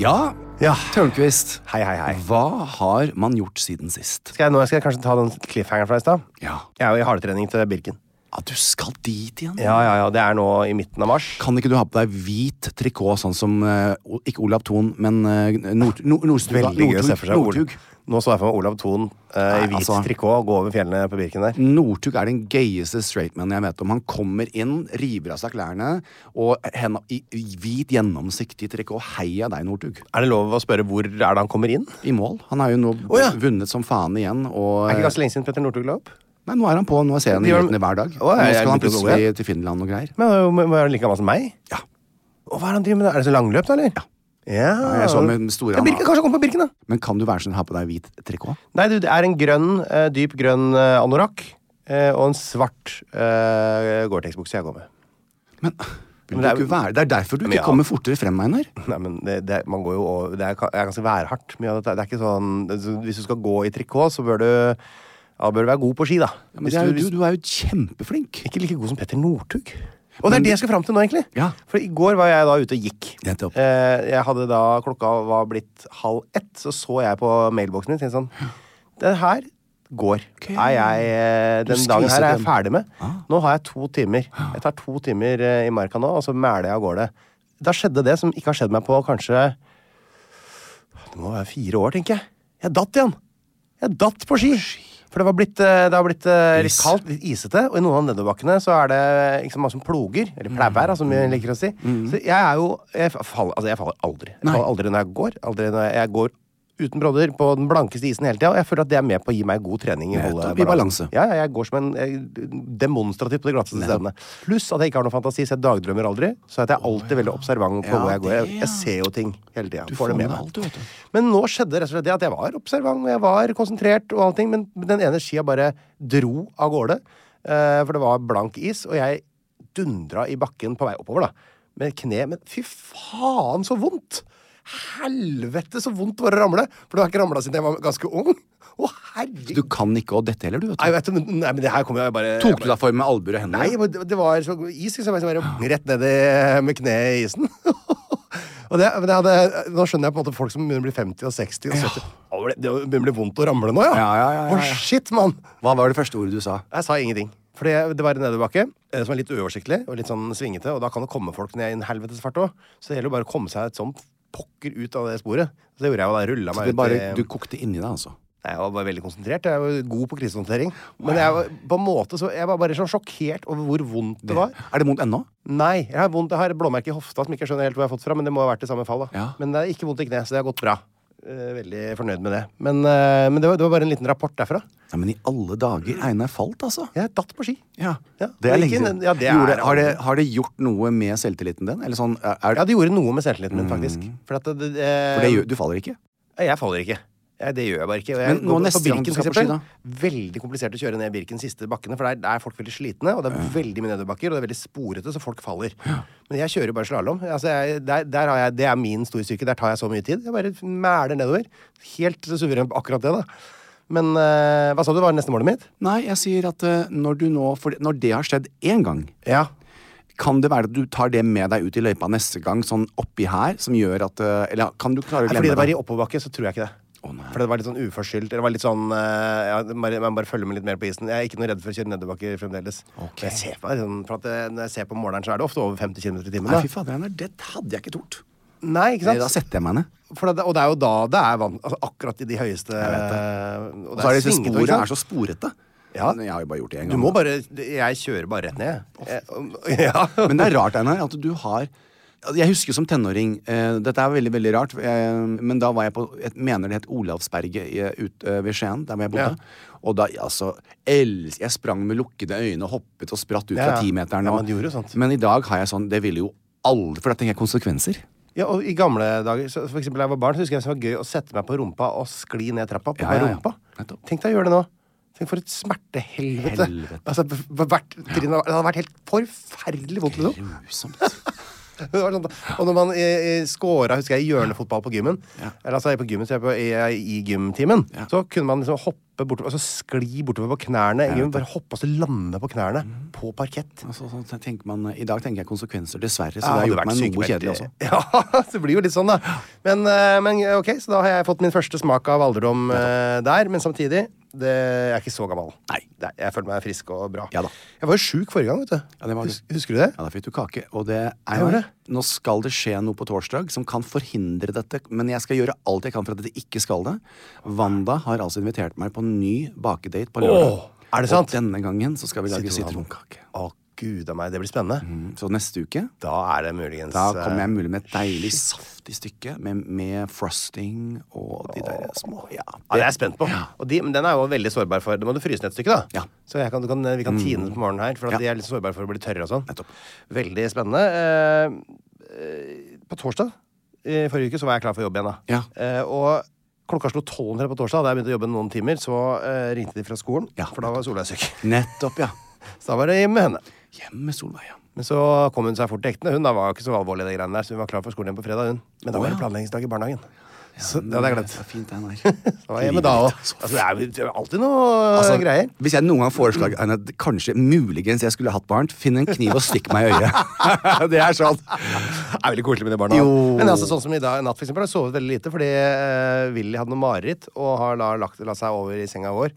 S1: Ja,
S2: Ja.
S1: Tørnquist.
S2: Hei, hei, hei.
S1: Hva har man gjort siden sist?
S2: Skal jeg, nå skal jeg kanskje ta den cliffhangeren fra i stad.
S1: Ja,
S2: Jeg er jo i hardtrening til Birken.
S1: ja du skal dit igjen?
S2: Ja, ja, ja. Det er nå i midten av mars.
S1: Kan ikke du ha på deg hvit trikot, sånn som eh, O- ikke Olav Thon, men eh, Nord, Nord, Nordstuga?
S2: Veldig gøy å se for seg.
S1: Nordtug.
S2: Olav- Nå så jeg for meg Olav Thon eh,
S1: Nei,
S2: i hvit
S1: altså.
S2: trikot gå over fjellene på Birken der.
S1: Northug er den gøyeste straightmanen jeg vet om. Han kommer inn, river av seg klærne, og henda i i hvit, gjennomsiktig trikot. Heia deg, Northug.
S2: Er det lov å spørre hvor er det han kommer inn?
S1: I mål. Han er jo nå
S2: Å, ja.
S1: vunnet som faen igjen, og eh,
S2: Er ikke ganske lenge siden Petter Northug la opp?
S1: Nei, nå er han på. Nå ser jeg ham i
S2: Det gjør-
S1: nyhetene hver dag.
S2: Å, ja,
S1: nå
S2: jeg
S1: skal han
S2: begynte å gå, ja.
S1: plutselig til Finland og greier.
S2: Men han er jo- men er han like gammel som meg?
S1: Ja.
S2: Og hva Er det han driver med? da? Er det så langløp, da, eller? Ja.
S1: Ja, jeg så med store
S2: Ja, Birken,
S1: han-
S2: kanskje han kommer på Birken, da?
S1: Men kan du være sånn ha på deg hvit trikot?
S2: Nei, du, det er en grønn, eh, dyp grønn eh, anorakk eh, og en svart eh, Gore-Tex-bukse jeg går med.
S1: Men, vil
S2: Men
S1: du
S2: det er-
S1: ikke være? det er derfor du
S2: Men
S1: ikke
S2: ja.
S1: kommer fortere frem, Einar.
S2: Nei, men det, det, man går jo over, det er, ka- er ganske værhardt. Mye av dette. Det er ikke sånn, det- så hvis du skal gå i trikot, så bør du, ja, bør du være god på ski, da.
S1: Men
S2: Hvis
S1: det er,
S2: du,
S1: jo-
S2: hvis,
S1: du, du er jo kjempeflink.
S2: ikke like god som Petter Northug. Og det er det jeg skal fram til nå, egentlig.
S1: Ja.
S2: For i går var jeg da ute og gikk.
S1: Nettopp.
S2: Eh, jeg hadde da, Klokka var blitt halv ett, så så jeg på mailboksen min og tenkte sånn Det her går. Er jeg, eh,
S1: Du
S2: den dagen
S1: skviser
S2: her er jeg
S1: den. Ah.
S2: ferdig med. Nå har jeg to timer. Jeg tar to timer eh, i marka nå, og så mæler jeg av gårde. Da skjedde det som ikke har skjedd meg på kanskje Det må være fire år, tenker jeg. Jeg datt igjen. Jeg datt på ski. For det, var blitt, eh, det har blitt eh, litt
S1: Is.
S2: kaldt, litt isete, og i noen av nedoverbakkene så er det liksom mange som ploger. Eller plevær, da, som vi liker å si.
S1: Mm.
S2: Så jeg er jo jeg faller, altså jeg faller aldri. Jeg faller aldri når jeg går. Aldri når jeg, jeg går uten brodder på den blankeste isen hele tida. Og jeg føler at det er med på å gi meg god trening. i å holde
S1: Nettopp, i balanse.
S2: Ja, ja, jeg går som en jeg, demonstrativt på de glatteste stedene. Pluss at jeg ikke har noe fantasi, så jeg dagdrømmer aldri. Så at jeg er alltid veldig observant på
S1: Ja,
S2: hvor jeg går. Jeg,
S1: det, ja.
S2: jeg ser jo ting hele tida.
S1: får med deg alt, du, vet du.
S2: Men nå skjedde rett og slett det at jeg var observant, og jeg var konsentrert, og allting, men den ene skia bare dro av gårde. eh, for det var blank is, og jeg dundra i bakken på vei oppover, da. Med kne Men fy faen, så vondt! Helvete, så vondt det var å ramle! For du har ikke ramla siden jeg var ganske ung. Å, herregud!
S1: Du kan ikke å dette heller, du, vet
S2: Nei,
S1: du.
S2: vet du, men, nei, men det her kommer jeg bare
S1: Tok du deg for med albuer og hender?
S2: Nei, men det det var så is, liksom. Jeg bare rett ned i, med kneet i isen. og det, men det hadde, nå skjønner jeg på en måte folk som begynner å bli 50 og 60 og 70. Å, det- Det begynner å bli vondt å ramle nå, ja.
S1: Ja, ja, ja, ja,
S2: Å,
S1: ja.
S2: shit, mann!
S1: Hva var det første ordet du sa?
S2: Jeg sa ingenting. For det, det var en nedoverbakke eh, som er litt uoversiktlig og litt sånn svingete, og da kan det komme folk ned i en helvetes fart òg. Så det gjelder jo bare å komme seg sånn pokker ut av det sporet. Så det gjorde jeg, og da rulla meg
S1: Det
S2: ut.
S1: bare,
S2: i-
S1: du kokte inni deg, altså.
S2: Nei, Jeg var bare veldig konsentrert. Jeg var god på krisehåndtering. Men jeg var, på en måte så, jeg var bare sånn sjokkert over hvor vondt det var.
S1: Er det vondt ennå?
S2: Nei, jeg har, vondt, jeg har et blåmerke i hofta som jeg ikke skjønner helt hvor jeg har fått fra, men det må ha vært i samme fall. da.
S1: Ja.
S2: Men det er ikke vondt i kneet, så det har gått bra. Eh, veldig fornøyd med det. Men, eh, men det, var, det var bare en liten rapport derfra.
S1: Nei, men i alle dager, Einar falt, altså.
S2: Jeg datt på ski.
S1: Ja,
S2: Ja,
S1: Det er
S2: men
S1: lenge
S2: ikke-
S1: siden.
S2: ja, det er-
S1: Gjorde, har, det, har det gjort noe med selvtilliten din? Eller sånn, er, er,
S2: Ja, det gjorde noe med selvtilliten min, faktisk. For, at det, det,
S1: Mm. for det gjør, du faller ikke?
S2: Jeg faller ikke. Jeg, det gjør jeg bare ikke. Og Jeg,
S1: Men nå
S2: går
S1: neste
S2: Birken,
S1: gang du
S2: for
S1: skal på ski,
S2: eksempel. Veldig komplisert å kjøre ned Birkens siste bakkene, for der, der er folk veldig slitne, og det er veldig mye nedoverbakker, og det er veldig sporete, så folk faller. Men jeg kjører jo bare slalåm. Altså, jeg- der, der har jeg- det er min storstyrke. Der tar jeg så mye tid. Jeg bare mæler nedover. Helt suverent på akkurat det, da. Men eh, hva sa du var neste målet mitt?
S1: Nei, jeg sier at eh, når, du nå, for, når det har skjedd én gang,
S2: Ja.
S1: kan det være at du tar det med deg ut i løypa neste gang, sånn oppi her, som gjør at eh, Eller kan du klare å
S2: Nei, fordi
S1: glemme
S2: det var
S1: det?
S2: i oppoverbakke, så tror jeg ikke det.
S1: Å, nei.
S2: fordi det var litt sånn uforskyldt. Eller det var litt sånn eh, ja, det- bare, Man bare følger med litt mer på isen. Jeg er ikke noe redd for å kjøre nedoverbakker fremdeles.
S1: Ok.
S2: Jeg ser på, sånn, for at, eh, når jeg ser på måleren, så er det ofte over 50 km i timen.
S1: Nei,
S2: da.
S1: fy fader, Einar, det hadde jeg ikke tort.
S2: Nei, ikke
S1: Nei,
S2: sant?
S1: da setter jeg meg ned.
S2: for det, og det er jo da det er vann, altså akkurat i de høyeste Og
S1: Og så er disse
S2: svingete,
S1: sporene
S2: ikke
S1: er så
S2: sant?
S1: sporete.
S2: Ja.
S1: Men Jeg har jo bare gjort det én
S2: Du
S1: gang.
S2: må bare Jeg kjører bare rett ned. Jeg- Ja.
S1: Men det er rart, Einar, at du har Jeg husker som tenåring eh, Dette er veldig veldig rart, eh, men da var jeg på jeg mener det het Olavsberget i- ut, eh, ved Skien, der hvor jeg bodde. Og da, altså, els, Jeg sprang med lukkede øyne og hoppet og spratt ut
S2: Ja,
S1: fra
S2: ja.
S1: timeteren.
S2: Ja,
S1: og-
S2: man gjorde jo sånt.
S1: Men i dag har jeg sånn Det ville jo aldri For da tenker jeg konsekvenser.
S2: Ja, og I gamle dager, så for eksempel da jeg var barn, så husker jeg det var gøy å sette meg på rumpa og skli ned trappa på
S1: Ja, ja, ja.
S2: rumpa.
S1: Nettopp.
S2: Tenk deg å gjøre det nå. Tenk for et smertehelvete.
S1: Helvete.
S2: Altså, b- b- hvert trinn, Det hadde vært helt forferdelig vondt. Liksom.
S1: Grusomt.
S2: Det var sånn, og når man eh, eh, scora, husker jeg, i hjørnefotball på gymmen Eller altså på gymmen, så jeg på, i, i gymtimen. Så kunne man liksom hoppe bortover, altså skli bortover på knærne. i gymmen, bare hoppe og så lande på knærne
S1: Mm.
S2: på parkett.
S1: Altså, sånn tenker man, I dag tenker jeg konsekvenser, dessverre. Så det
S2: Ja,
S1: har
S2: hadde
S1: gjort meg
S2: vært
S1: noe
S2: sykemeldt,
S1: kjedelig også.
S2: eh, Ja, det blir jo litt sånn, da. Men, eh, men eh, ok, så da har jeg fått min første smak av alderdom eh, der. Men samtidig, det, jeg er ikke så gammel.
S1: Nei.
S2: Jeg føler meg frisk og bra.
S1: Ja da.
S2: Jeg var jo sjuk forrige gang, vet du.
S1: Ja, det var du.
S2: Hus- Husker du det?
S1: Ja, Da fikk du kake. Og det
S2: gjorde
S1: Einar,
S2: det.
S1: nå skal det skje noe på torsdag som kan forhindre dette, men jeg skal gjøre alt jeg kan for at det ikke skal det. Wanda har altså invitert meg på en ny bakedate på lørdag.
S2: Åh, er det sant?
S1: Og denne gangen så skal vi lage sitronkake.
S2: Å, gud a meg, det blir spennende.
S1: Så neste uke
S2: Da er det
S1: Mm.
S2: muligens
S1: da kommer jeg mulig med et deilig, saftig stykke med, med frosting og de der små Ja.
S2: Ja, det er jeg spent på. Og de, men den er jo veldig sårbar for Det må du fryse ned et stykke, da.
S1: Ja. Mm.
S2: Så jeg kan, du kan, vi kan tine den på morgenen her, for at
S1: Ja.
S2: de er litt sårbare for å bli tørre og sånn.
S1: Nettopp.
S2: Veldig spennende. Eh, eh, på torsdag i forrige uke så var jeg klar for jobb igjen, da.
S1: Ja.
S2: Eh, og klokka slo tolv omtrent på torsdag, da jeg begynte å jobbe noen timer, så eh, ringte de fra skolen,
S1: Ja.
S2: for da var Solveig syk.
S1: Nettopp, ja.
S2: Så da var det med henne.
S1: Hjem med Solveig, ja.
S2: Men så kom hun seg fort til hektene. Hun da var ikke så alvorlig, i de greiene der, så hun var klar for skolen igjen på fredag. hun. Men da var det planleggingsdag i barnehagen. Så det hadde jeg glemt.
S1: Det er fint, Einar.
S2: Da var jeg hjemme da òg. Altså, det er jo- det er jo alltid noe eh,
S1: Altså,
S2: greier.
S1: Hvis jeg noen gang foreslår Anne, at kanskje muligens jeg skulle hatt barn, finn en kniv og stikk meg i øyet. det er sånn.
S2: Det er veldig koselig med de barna.
S1: Jo.
S2: Men altså, sånn som i dag, i natt for eksempel, har jeg sovet veldig lite fordi eh, Willy hadde noe mareritt og har da lagt la seg over i senga vår.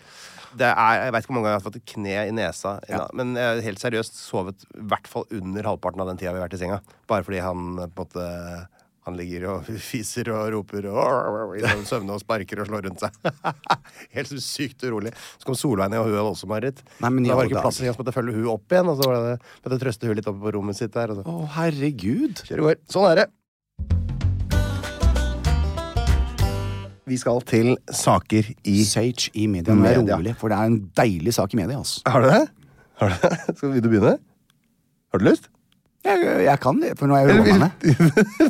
S2: Det er, jeg vet ikke hvor mange ganger jeg har fått et kne i nesa, i natt, men jeg har helt seriøst sovet i hvert fall under halvparten av den tida vi har vært i senga. Bare fordi han eh, på en måte han ligger og fiser og roper og i sånn søvne og sparker og slår rundt seg. Helt så sykt urolig. Så kom Solveig ned, og hun hadde også mareritt.
S1: Nei, men i
S2: da var
S1: alle
S2: det ikke plass
S1: dager.
S2: engang, så måtte jeg følge hun opp igjen. Og så var det, måtte jeg trøste hun litt oppe på rommet sitt der. Og så.
S1: Å, herregud.
S2: Kjør i går. Sånn er det. Vi skal til saker i
S1: Sage i media. Nå er jeg
S2: Media.
S1: rolig, for det er en deilig sak i media. Altså.
S2: Har du det? Har du det? Skal vi begynne? Har du lyst?
S1: Jeg, jeg kan det, for nå er jeg roa meg ned.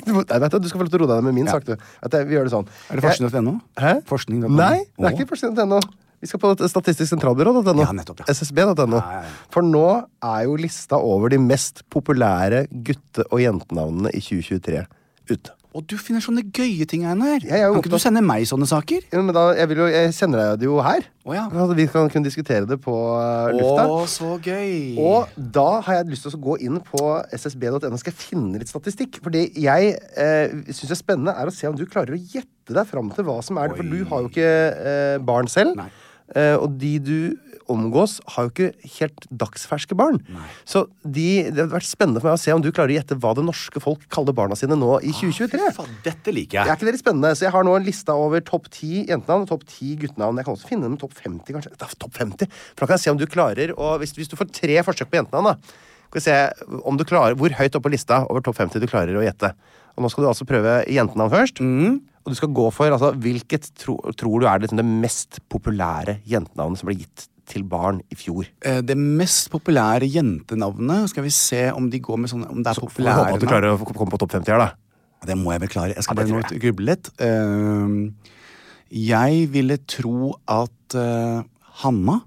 S2: du, må- nei, vet du, du skal få lov til å roe deg ned med min
S1: Ja.
S2: sak, du. Vet du, vi gjør det sånn.
S1: Er det forskning.no?
S2: Hæ?
S1: Forskning.no?
S2: Nei, det er
S1: Å.
S2: ikke forskning.no. Vi skal på Statistisk sentralbyrå.no.
S1: Ja, nettopp, ja.
S2: SSB.no.
S1: ja, ja.
S2: For nå er jo lista over de mest populære gutte- og jentenavnene i 2023 ute.
S1: Og du finner sånne gøye ting, Einar.
S2: jeg er jo
S1: Kan ikke
S2: opptatt-
S1: du sende meg sånne saker?
S2: Jo, men da, jeg, vil jo, jeg sender deg det jo her.
S1: Å, ja.
S2: Altså, vi kan kunne diskutere det på eh, lufta.
S1: Å, så gøy.
S2: Og da har jeg lyst til å gå inn på ssb.no skal jeg finne litt statistikk. For det jeg eh, syns er spennende, er å se om du klarer å gjette deg fram til hva som er det. For du har jo ikke eh, barn selv.
S1: Nei.
S2: Eh, og de du omgås, har jo ikke helt dagsferske barn. Så de, det hadde vært spennende for meg å se om du klarer å gjette hva det norske folk kaller barna sine nå i 2023.
S1: Ah, Fy faen, dette liker
S2: Det
S1: jeg.
S2: er ikke veldig spennende, så jeg har nå en lista over topp 10 jentenavn og topp 10 guttenavn. Jeg kan også finne dem topp 50, kanskje. Da, topp 50. For da kan jeg se om du klarer å hvis, hvis du får tre forsøk på jentenavn, da, skal vi se om du klarer, hvor høyt oppe på lista over topp 50 du klarer å gjette. Og nå skal du altså prøve jentenavn først. Og du skal gå for altså, hvilket tro, tror du er liksom det mest populære jentenavnet som ble gitt til barn i fjor.
S1: Eh, Det mest populære jentenavnet, skal vi se om de går med sånne Om det er
S2: Får vi håpe
S1: populære
S2: at du
S1: navn.
S2: klarer å komme på topp 50 her, da.
S1: Det må jeg vel klare. Jeg skal
S2: Ja, det
S1: bare nå
S2: tror jeg.
S1: gruble litt. Ehm, jeg ville tro at eh, Hanna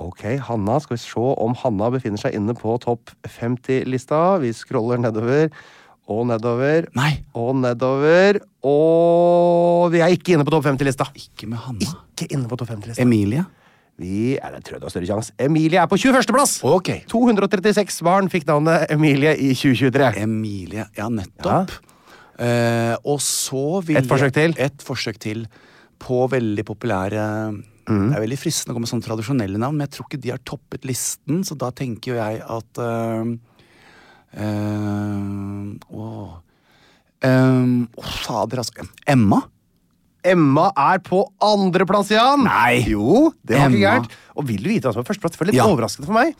S2: Ok, Hanna. Skal vi se om Hanna befinner seg inne på topp 50-lista. Vi scroller nedover og nedover
S1: Nei.
S2: og nedover. Og vi er ikke inne på topp 50-lista!
S1: Ikke med Hanna.
S2: Ikke inne på topp 50-lista.
S1: Emilie.
S2: Vi er det tror jeg du har større sjanse. Emilie er på 21.-plass!
S1: Ok.
S2: 236 barn fikk navnet Emilie i 2023.
S1: Emilie, ja, nettopp. Eh, og så vil
S2: Et forsøk til.
S1: Jeg, et forsøk til på veldig populære
S2: Mhm.
S1: Det er veldig fristende å komme med sånne tradisjonelle navn, men jeg tror ikke de har toppet listen, så da tenker jo jeg at eh, eh, åh. Eh, åh, fader, altså. Emma?
S2: Emma er på andreplass, Jan!
S1: Nei.
S2: Jo, det var ikke
S1: Emma.
S2: gærent. Og vil du vite hva som er førsteplass? Det var litt
S1: Ja.
S2: overraskende for meg.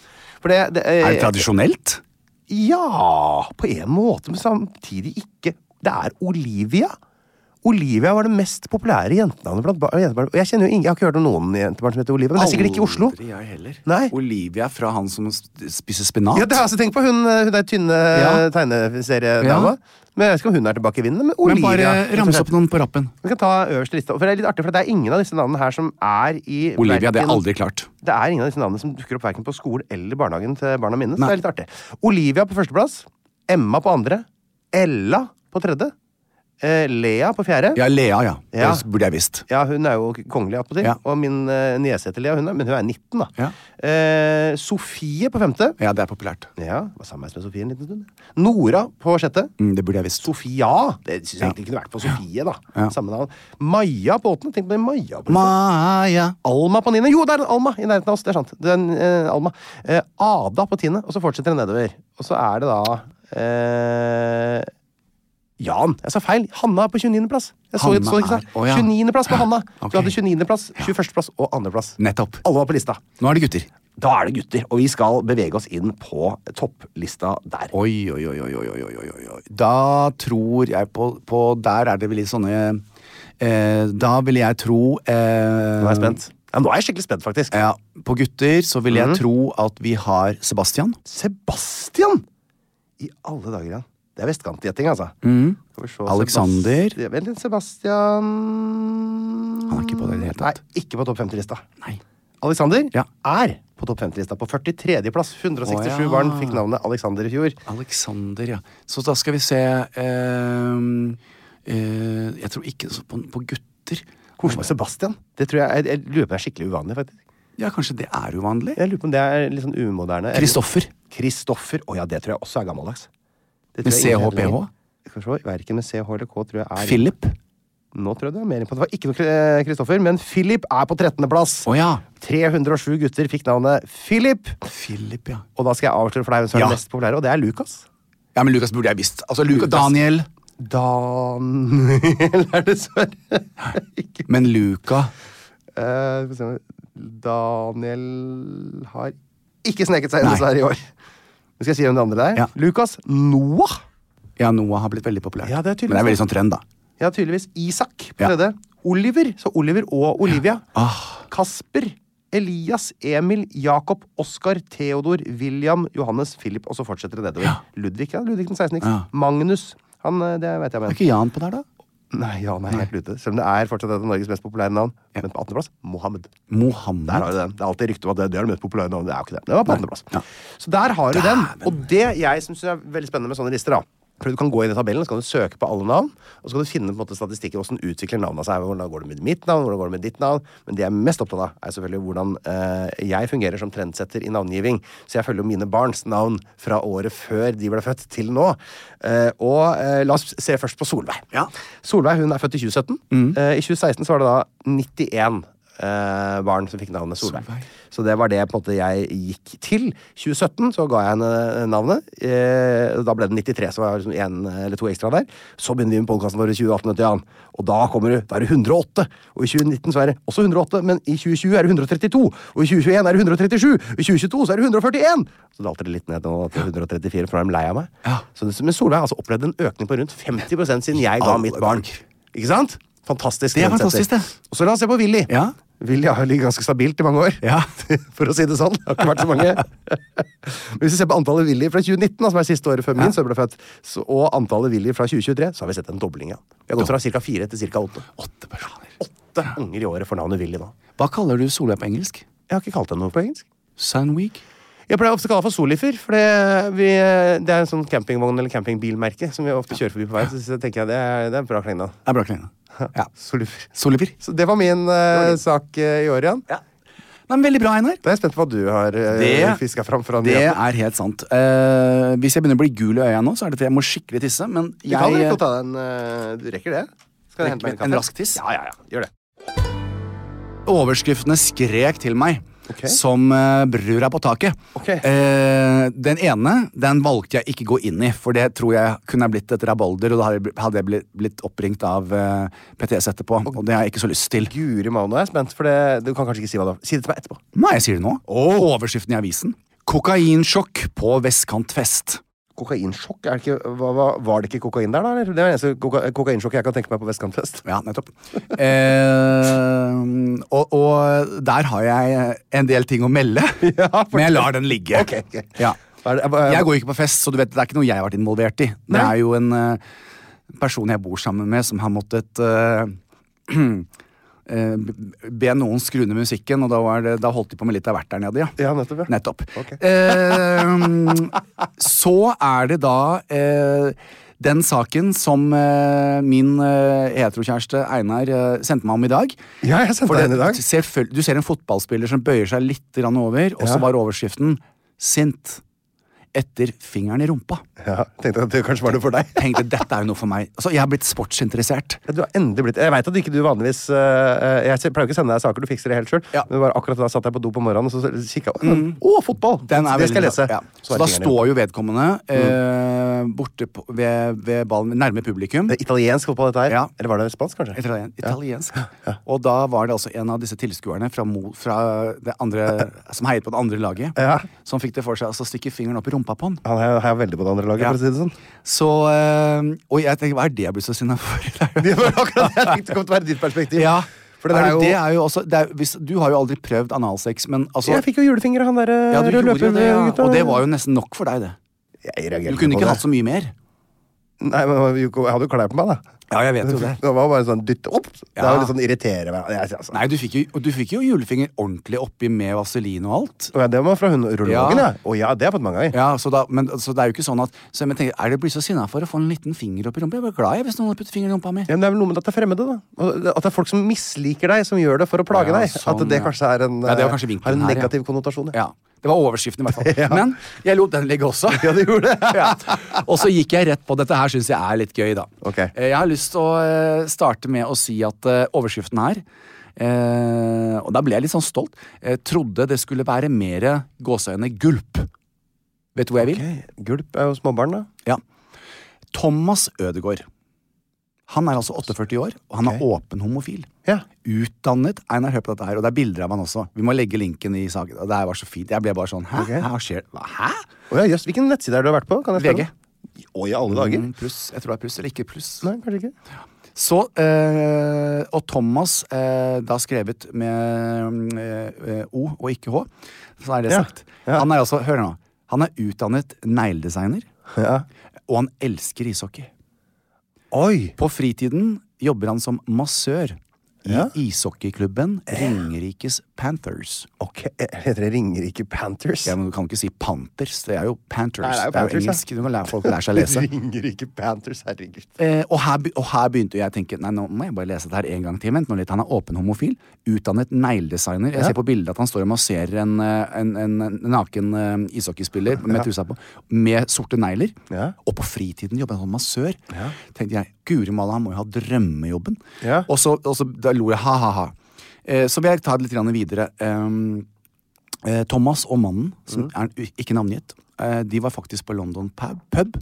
S2: For det, det, eh,
S1: Er det tradisjonelt?
S2: Ja, på en måte, men samtidig ikke. Det er Olivia. Olivia var det mest populære jentenavnet blant bar- jentebarn. Og jeg kjenner jo ingen, jeg har ikke hørt om noen jentebarn som heter Olivia. Men det er sikkert ikke i Oslo.
S1: Aldri jeg heller.
S2: Nei.
S1: Olivia fra han som sp- spiser spinat.
S2: Ja, det har jeg også tenkt på. Hun, eh, hun der tynne
S1: Ja.
S2: eh, tegneseriedama.
S1: Ja.
S2: Men jeg vet ikke om hun er tilbake i vinden. Men
S1: Men
S2: Olivia.
S1: bare ramse opp noen på rappen.
S2: Vi kan ta øverste lista. For det er litt artig, for det er ingen av disse navnene her som er i
S1: Olivia, det er
S2: verken-
S1: aldri klart.
S2: Det er ingen av disse navnene som dukker opp verken på skolen eller barnehagen til barna mine. Så
S1: Nei.
S2: det er litt artig. Olivia på førsteplass. Emma på andre. Ella på tredje. Eh, Lea på fjerde.
S1: Ja, Lea, ja.
S2: Ja.
S1: Det burde jeg visst.
S2: Ja, hun er jo kongelig attpåtil.
S1: Ja.
S2: Og min eh, niese heter Lea, hun er, men hun er 19, da.
S1: Ja.
S2: Eh, Sofie på femte.
S1: Ja, det er populært.
S2: Ja, var sammen med Sofie en liten stund. Nora på sjette.
S1: Mm, det burde jeg visst.
S2: Sofia! Det syns jeg egentlig kunne vært på Sofie, da.
S1: Ja.
S2: Samme navn. Maja på åttende. Tenk på det, Maja på
S1: Maja.
S2: Alma på niende. Jo, det er en Alma i nærheten av oss! Det er sant. Den, eh, Alma. Eh, Ada på tiende, og så fortsetter det nedover. Og så er det da eh, Jan. Jeg sa feil. Hanna er på 29. plass. Jeg så,
S1: Hanna
S2: så ikke
S1: er-
S2: sant?
S1: Å, ja.
S2: 29. plass på Hanna.
S1: Ok.
S2: Du hadde 29. plass, 21. plass og 2. plass.
S1: Nettopp.
S2: Alle var på lista.
S1: Nå er det gutter.
S2: Da er det gutter, og vi skal bevege oss inn på topplista der.
S1: Oi, oi, oi, oi, oi, oi, oi, oi, oi. Da tror jeg på, på Der er det vel litt sånne eh, Da vil jeg tro eh,
S2: Nå er jeg spent. Mhm. Ja, nå er jeg skikkelig spent, faktisk.
S1: Ja, på gutter så vil jeg tro at vi har Sebastian.
S2: Sebastian! I alle dager, ja. Det er vestkantgjetting, altså. Skal vi se,
S1: Mm. Alexander.
S2: Sebasti- Vent litt, Sebastian Han
S1: er ikke på det i det hele tatt.
S2: Nei, ikke på topp 50-lista.
S1: Nei.
S2: Alexander
S1: Ja.
S2: er på topp 50-lista på 43. plass. 167
S1: Å, ja.
S2: barn fikk navnet Alexander i fjor.
S1: Alexander, ja. Så da skal vi se ehm, eh, Jeg tror ikke så på, på gutter.
S2: Koselig med Sebastian. Det tror jeg, jeg, jeg lurer på om det er skikkelig uvanlig. faktisk.
S1: Ja, kanskje det er uvanlig?
S2: Jeg lurer på om det er litt sånn umoderne.
S1: Kristoffer.
S2: Kristoffer. Å ja, det tror jeg også er gammeldags. Det
S1: Med
S2: tror jeg ingen
S1: CHPH?
S2: heller- Skal vi se, Verken med CH eller K tror jeg er
S1: Philip.
S2: Nå tror jeg det er mer på Det var ikke noe Kri- eh, Kristoffer, men Philip er på 13. plass.
S1: Å ja.
S2: 307 gutter fikk navnet Philip.
S1: Philip, ja.
S2: Og da skal jeg avsløre for deg hvem som er
S1: Ja.
S2: den mest populære, og det er Lukas.
S1: Ja, men Lukas burde jeg visst. Altså, Lukas,
S2: Lukas.
S1: Daniel.
S2: Daniel er dessverre ikke
S1: Men Luca
S2: Eh, Skal vi se Daniel har ikke sneket seg inn
S1: Nei.
S2: dessverre i år. Men skal jeg si hvem det andre er?
S1: Ja.
S2: Lukas Noah.
S1: Ja, Noah har blitt veldig populær.
S2: Ja, det er tydeligvis
S1: men det er veldig sånn trend, da.
S2: Ja, tydeligvis. Isak på
S1: Ja.
S2: tredje. Oliver. Så Oliver og Olivia.
S1: Ah,
S2: Kasper, Elias, Emil, Jakob, Oskar, Theodor, William, Johannes, Philip, og så fortsetter det nedover. Ludvig, ja. Ludvig den 16.
S1: Ja.
S2: Magnus. Han, eh, det vet jeg
S1: er
S2: hvem er.
S1: ikke Jan på der, da?
S2: Nei, ja, nei, helt ute. Selv om det er fortsatt et av Norges mest populære navn. Men på 18.-plass Mohammed.
S1: Mohammed.
S2: Der har du den. Det er alltid rykte om at det, det er det mest populære navnet. Det er jo ikke det. Det var på andreplass.
S1: Ja.
S2: Så der har du den. Og det jeg syns er veldig spennende med sånne lister, da. For Du kan gå inn i tabellen så kan du søke på alle navn, og så kan du finne på en måte statistikken hvordan utvikler navnene seg. Hvordan går det med mitt navn, hvordan går det med ditt navn? Men det jeg er mest opptatt av, er selvfølgelig hvordan eh, jeg fungerer som trendsetter i navngiving. Så jeg følger jo mine barns navn fra året før de ble født, til nå. Eh, og eh, la oss se først på Solveig.
S1: Ja. Mm.
S2: Solveig hun er født i 2017. Eh, I 2016 så var det da 91 eh, barn som fikk navnet Solveig.
S1: Solveig.
S2: Så det var det på en måte jeg gikk til. 2017 så ga jeg henne navnet. Eh, da ble det 93, så var det liksom en eller to ekstra der. Så begynner vi med podkasten vår i 2018, vet du, Jan. og da kommer du, da er det 108. Og i 2019 så er det også 108, men i 2020 er det 132. Og i 2021 er det 137. Og i 2022 så er det 141. Så dalte det litt ned nå til 134, for da er de lei av meg.
S1: Ja.
S2: Så det, men Solveig har altså opplevd en økning på rundt 50 siden jeg ga
S1: Alle
S2: mitt barn.
S1: dager.
S2: Ikke sant? Fantastisk.
S1: Det er
S2: trendsetter.
S1: fantastisk, det.
S2: Og så la oss se på Willy.
S1: Ja.
S2: Willy har jo ligget ganske stabilt i mange år.
S1: Ja.
S2: For å si det sånn. Det har ikke vært så mange. Men hvis vi ser på antallet Willy fra 2019, da, som er siste året før min sønn ble født, så, og antallet Willy fra 2023, så har vi sett en dobling. Ja. Vi har gått fra ca. fire til ca. åtte.
S1: Åtte personer.
S2: Åtte unger i året får navnet Willy nå.
S1: Hva kaller du Solveig på engelsk?
S2: Jeg har ikke kalt henne noe på engelsk.
S1: Sunweek?
S2: Jeg pleier ofte å kalle det for Solifer, for det, vi, det er en sånn campingvogn- eller campingbilmerke som vi ofte kjører forbi på vei. Så, så tenker jeg det er, det er en bra klengnavn.
S1: Det er bra kline. Ja.
S2: Solifer.
S1: Soliver.
S2: Så det var min eh, sak eh, i år, Jan.
S1: Nei, men veldig bra, Einar.
S2: Da er jeg spent på hva du har uh,
S1: Det-
S2: fiska fram. fra
S1: Det
S2: nyhetene.
S1: er helt sant. Eh, hvis jeg begynner å bli gul i øya nå, så er det fordi jeg må skikkelig tisse. Men
S2: Du kan vel
S1: jeg
S2: få ta deg en eh, Du rekker det? Skal jeg hente meg en
S1: en,
S2: kaffe?
S1: en rask tiss.
S2: Ja, ja, ja. Gjør det.
S1: Overskriftene skrek til meg.
S2: Ok.
S1: Som eh, brura på taket.
S2: Ok.
S1: Eh, den ene den valgte jeg ikke gå inn i, for det tror jeg kunne ha blitt et rabalder, og da hadde jeg bl- hadde jeg blitt, blitt oppringt av eh, PTS etterpå, og det har jeg ikke så lyst til.
S2: Guri malla, nå er jeg spent, for det, du kan kanskje ikke si hva det var. Si det til meg etterpå.
S1: Nei, jeg sier det nå. Overskriften i avisen. Kokainsjokk på vestkantfest.
S2: kokainsjokk? Er det ikke, hva, hva, var det ikke kokain der, da? Eller? Det er det eneste koka, kokainsjokket jeg kan tenke meg på Vestkantfest.
S1: Ja, nettopp. Eh, og, og der har jeg en del ting å melde, men jeg lar den ligge.
S2: Ok, ok.
S1: Ja.
S2: Hva er det- hva-
S1: Jeg går ikke på fest, så du vet, det er ikke noe jeg har vært involvert i. Det
S2: Nei.
S1: er jo en eh, person jeg bor sammen med, som har måttet eh, eh, be noen skru ned musikken, og da, var det, da holdt de på med litt av hvert der nede, ja.
S2: Ja, nettopp, ja.
S1: Nettopp.
S2: Ok.
S1: Eh, så er det da eh, den saken som eh, min eh, heterokjæreste Einar eh, sendte meg om i dag.
S2: Ja, jeg sendte
S1: For
S2: den i dag.
S1: Selvfølgelig, du ser en fotballspiller som bøyer seg litt grann over, og
S2: Ja.
S1: så var overskriften 'sint etter fingeren i rumpa'.
S2: Ja, tenkte at det kanskje var noe for deg.
S1: Jeg tenkte, dette er jo noe for meg. Altså, jeg har blitt sportsinteressert.
S2: Ja, Du har endelig blitt Jeg veit at ikke du vanligvis øh, Jeg se- pleier jo ikke å sende deg saker, du fikser det helt sjøl.
S1: Ja.
S2: Men bare akkurat da satt jeg på do på morgenen og så kikka jeg Å, fotball!
S1: Den er
S2: det skal
S1: veldig
S2: jeg lese.
S1: bra. Ja.
S2: Mm. er
S1: Så da
S2: fingeren i. Mm.
S1: står jo vedkommende eh, borte på, ved, ved ballen, nærme publikum.
S2: Det er Eh, italiensk fotball, dette her.
S1: Ja.
S2: Eller var det spansk, kanskje?
S1: Italien, italiensk. Og da var det altså en av disse tilskuerne fra, Mo- fra det andre, som heiet på det andre laget,
S2: Ja.
S1: som fikk det for seg altså, å stikke fingeren opp i rumpa på han.
S2: Han heier heier veldig på det andre laget,
S1: Ja.
S2: for å si det sånn.
S1: Så, eh, og jeg tenker, hva er det jeg blir så sinna for?
S2: Det var akkurat det jeg tenkte kom til å være ditt perspektiv.
S1: ja.
S2: For det der er jo,
S1: det er jo også det er, hvis, Du har jo aldri prøvd analsex, men altså
S2: Jeg fikk jo julefinger av han eh, derre
S1: ja, du gjorde jo det, ja. Og det var jo nesten nok for deg, det.
S2: Jeg
S1: Du kunne ikke hatt så mye mer.
S2: Nei, men jeg hadde jo klær på meg, da.
S1: Ja, jeg vet jo det.
S2: Det var bare sånn dytte opp. Det
S1: Ja.
S2: var litt sånn irritere meg. Jeg- Altså.
S1: Nei, du fikk jo, og du fikk jo julefinger ordentlig oppi med vaselin og alt.
S2: Å ja, det var fra hunderologen, ja.
S1: Ja.
S2: Å ja, det har jeg fått mange ganger.
S1: Ja, så, da, men, så det er jo ikke sånn at Så jeg tenker, er det blitt så sinna for å få en liten finger opp i rumpa? Jeg blir glad jeg hvis noen putter fingeren i rumpa mi.
S2: Ja, men det er vel noe med at det er fremmede, da. Og det- At det er folk som misliker deg, som gjør det for å plage
S1: Ja,
S2: deg.
S1: sånn,
S2: at det
S1: ja.
S2: kanskje er en,
S1: Ja, det var
S2: eh,
S1: kanskje vinkelen
S2: har en
S1: her, ja.
S2: negativ konnotasjon.
S1: Ja. Det var overskriften, i hvert fall.
S2: Ja.
S1: Men jeg lot den ligge også.
S2: Ja, du gjorde det.
S1: ja. Og så gikk jeg rett på dette her, syns jeg er litt gøy, da.
S2: Ok.
S1: Eh, Jeg har lyst til å eh, starte med å si at eh, overskriften her eh, Og da ble jeg litt sånn stolt. Jeg trodde det skulle være mer gåseøyne gulp. Vet du hvor jeg vil?
S2: Ok, Gulp er jo småbarn, da.
S1: Ja. Thomas Ødegaard. Han er altså 48 år, og han er åpen homofil.
S2: Ja.
S1: Utdannet. Einar, hør på dette her, og det er bilder av han også. Vi må legge linken i saken. Og det her var så fint. Jeg ble bare sånn Hæ?
S2: Ok.
S1: Hva skjer? Hva? Hæ?
S2: Å ja, jøss. Hvilken nettside er det du har vært på? Kan jeg spørre
S1: VG.
S2: om? Å, i alle dager?
S1: Mm, pluss. Jeg tror det er pluss, eller ikke pluss.
S2: Nei, kanskje ikke.
S1: Så eh, Og Thomas, eh, da skrevet med eh, eh, O og ikke H, så er det
S2: Ja,
S1: sagt. Han er altså, hør nå, han er utdannet negledesigner,
S2: Ja.
S1: og han elsker ishockey.
S2: Oi!
S1: På fritiden jobber han som massør i
S2: Ja.
S1: ishockeyklubben Ringerikes Panthers.
S2: Ok, Heter det Ringerike Panthers?
S1: Ja, men Du kan ikke si Panthers, det er jo Panthers.
S2: Nei, det er jo Panthers, ja.
S1: engelsk, du kan lære folk å lære seg å lese.
S2: Ringerike Panthers, herregud.
S1: Eh, og, her, be- og her begynte jeg å tenke Nei, nå må jeg bare lese det her en gang til. Vent nå litt, Han er åpen homofil, utdannet negledesigner. Jeg ser på bildet at han står og masserer en, eh, en, en, en naken eh, ishockeyspiller med trusa på, med sorte negler.
S2: Ja.
S1: Og på fritiden jobber han som massør. Tenkte jeg, Guri malla, han må jo ha drømmejobben.
S2: Ja.
S1: Og, så, og så da lo jeg, ha-ha-ha. Eh, så vil jeg ta det litt grann videre. Um, Eh, Thomas og mannen, som
S2: Mm.
S1: er u- ikke navngitt, eh, de var faktisk på London pub, pub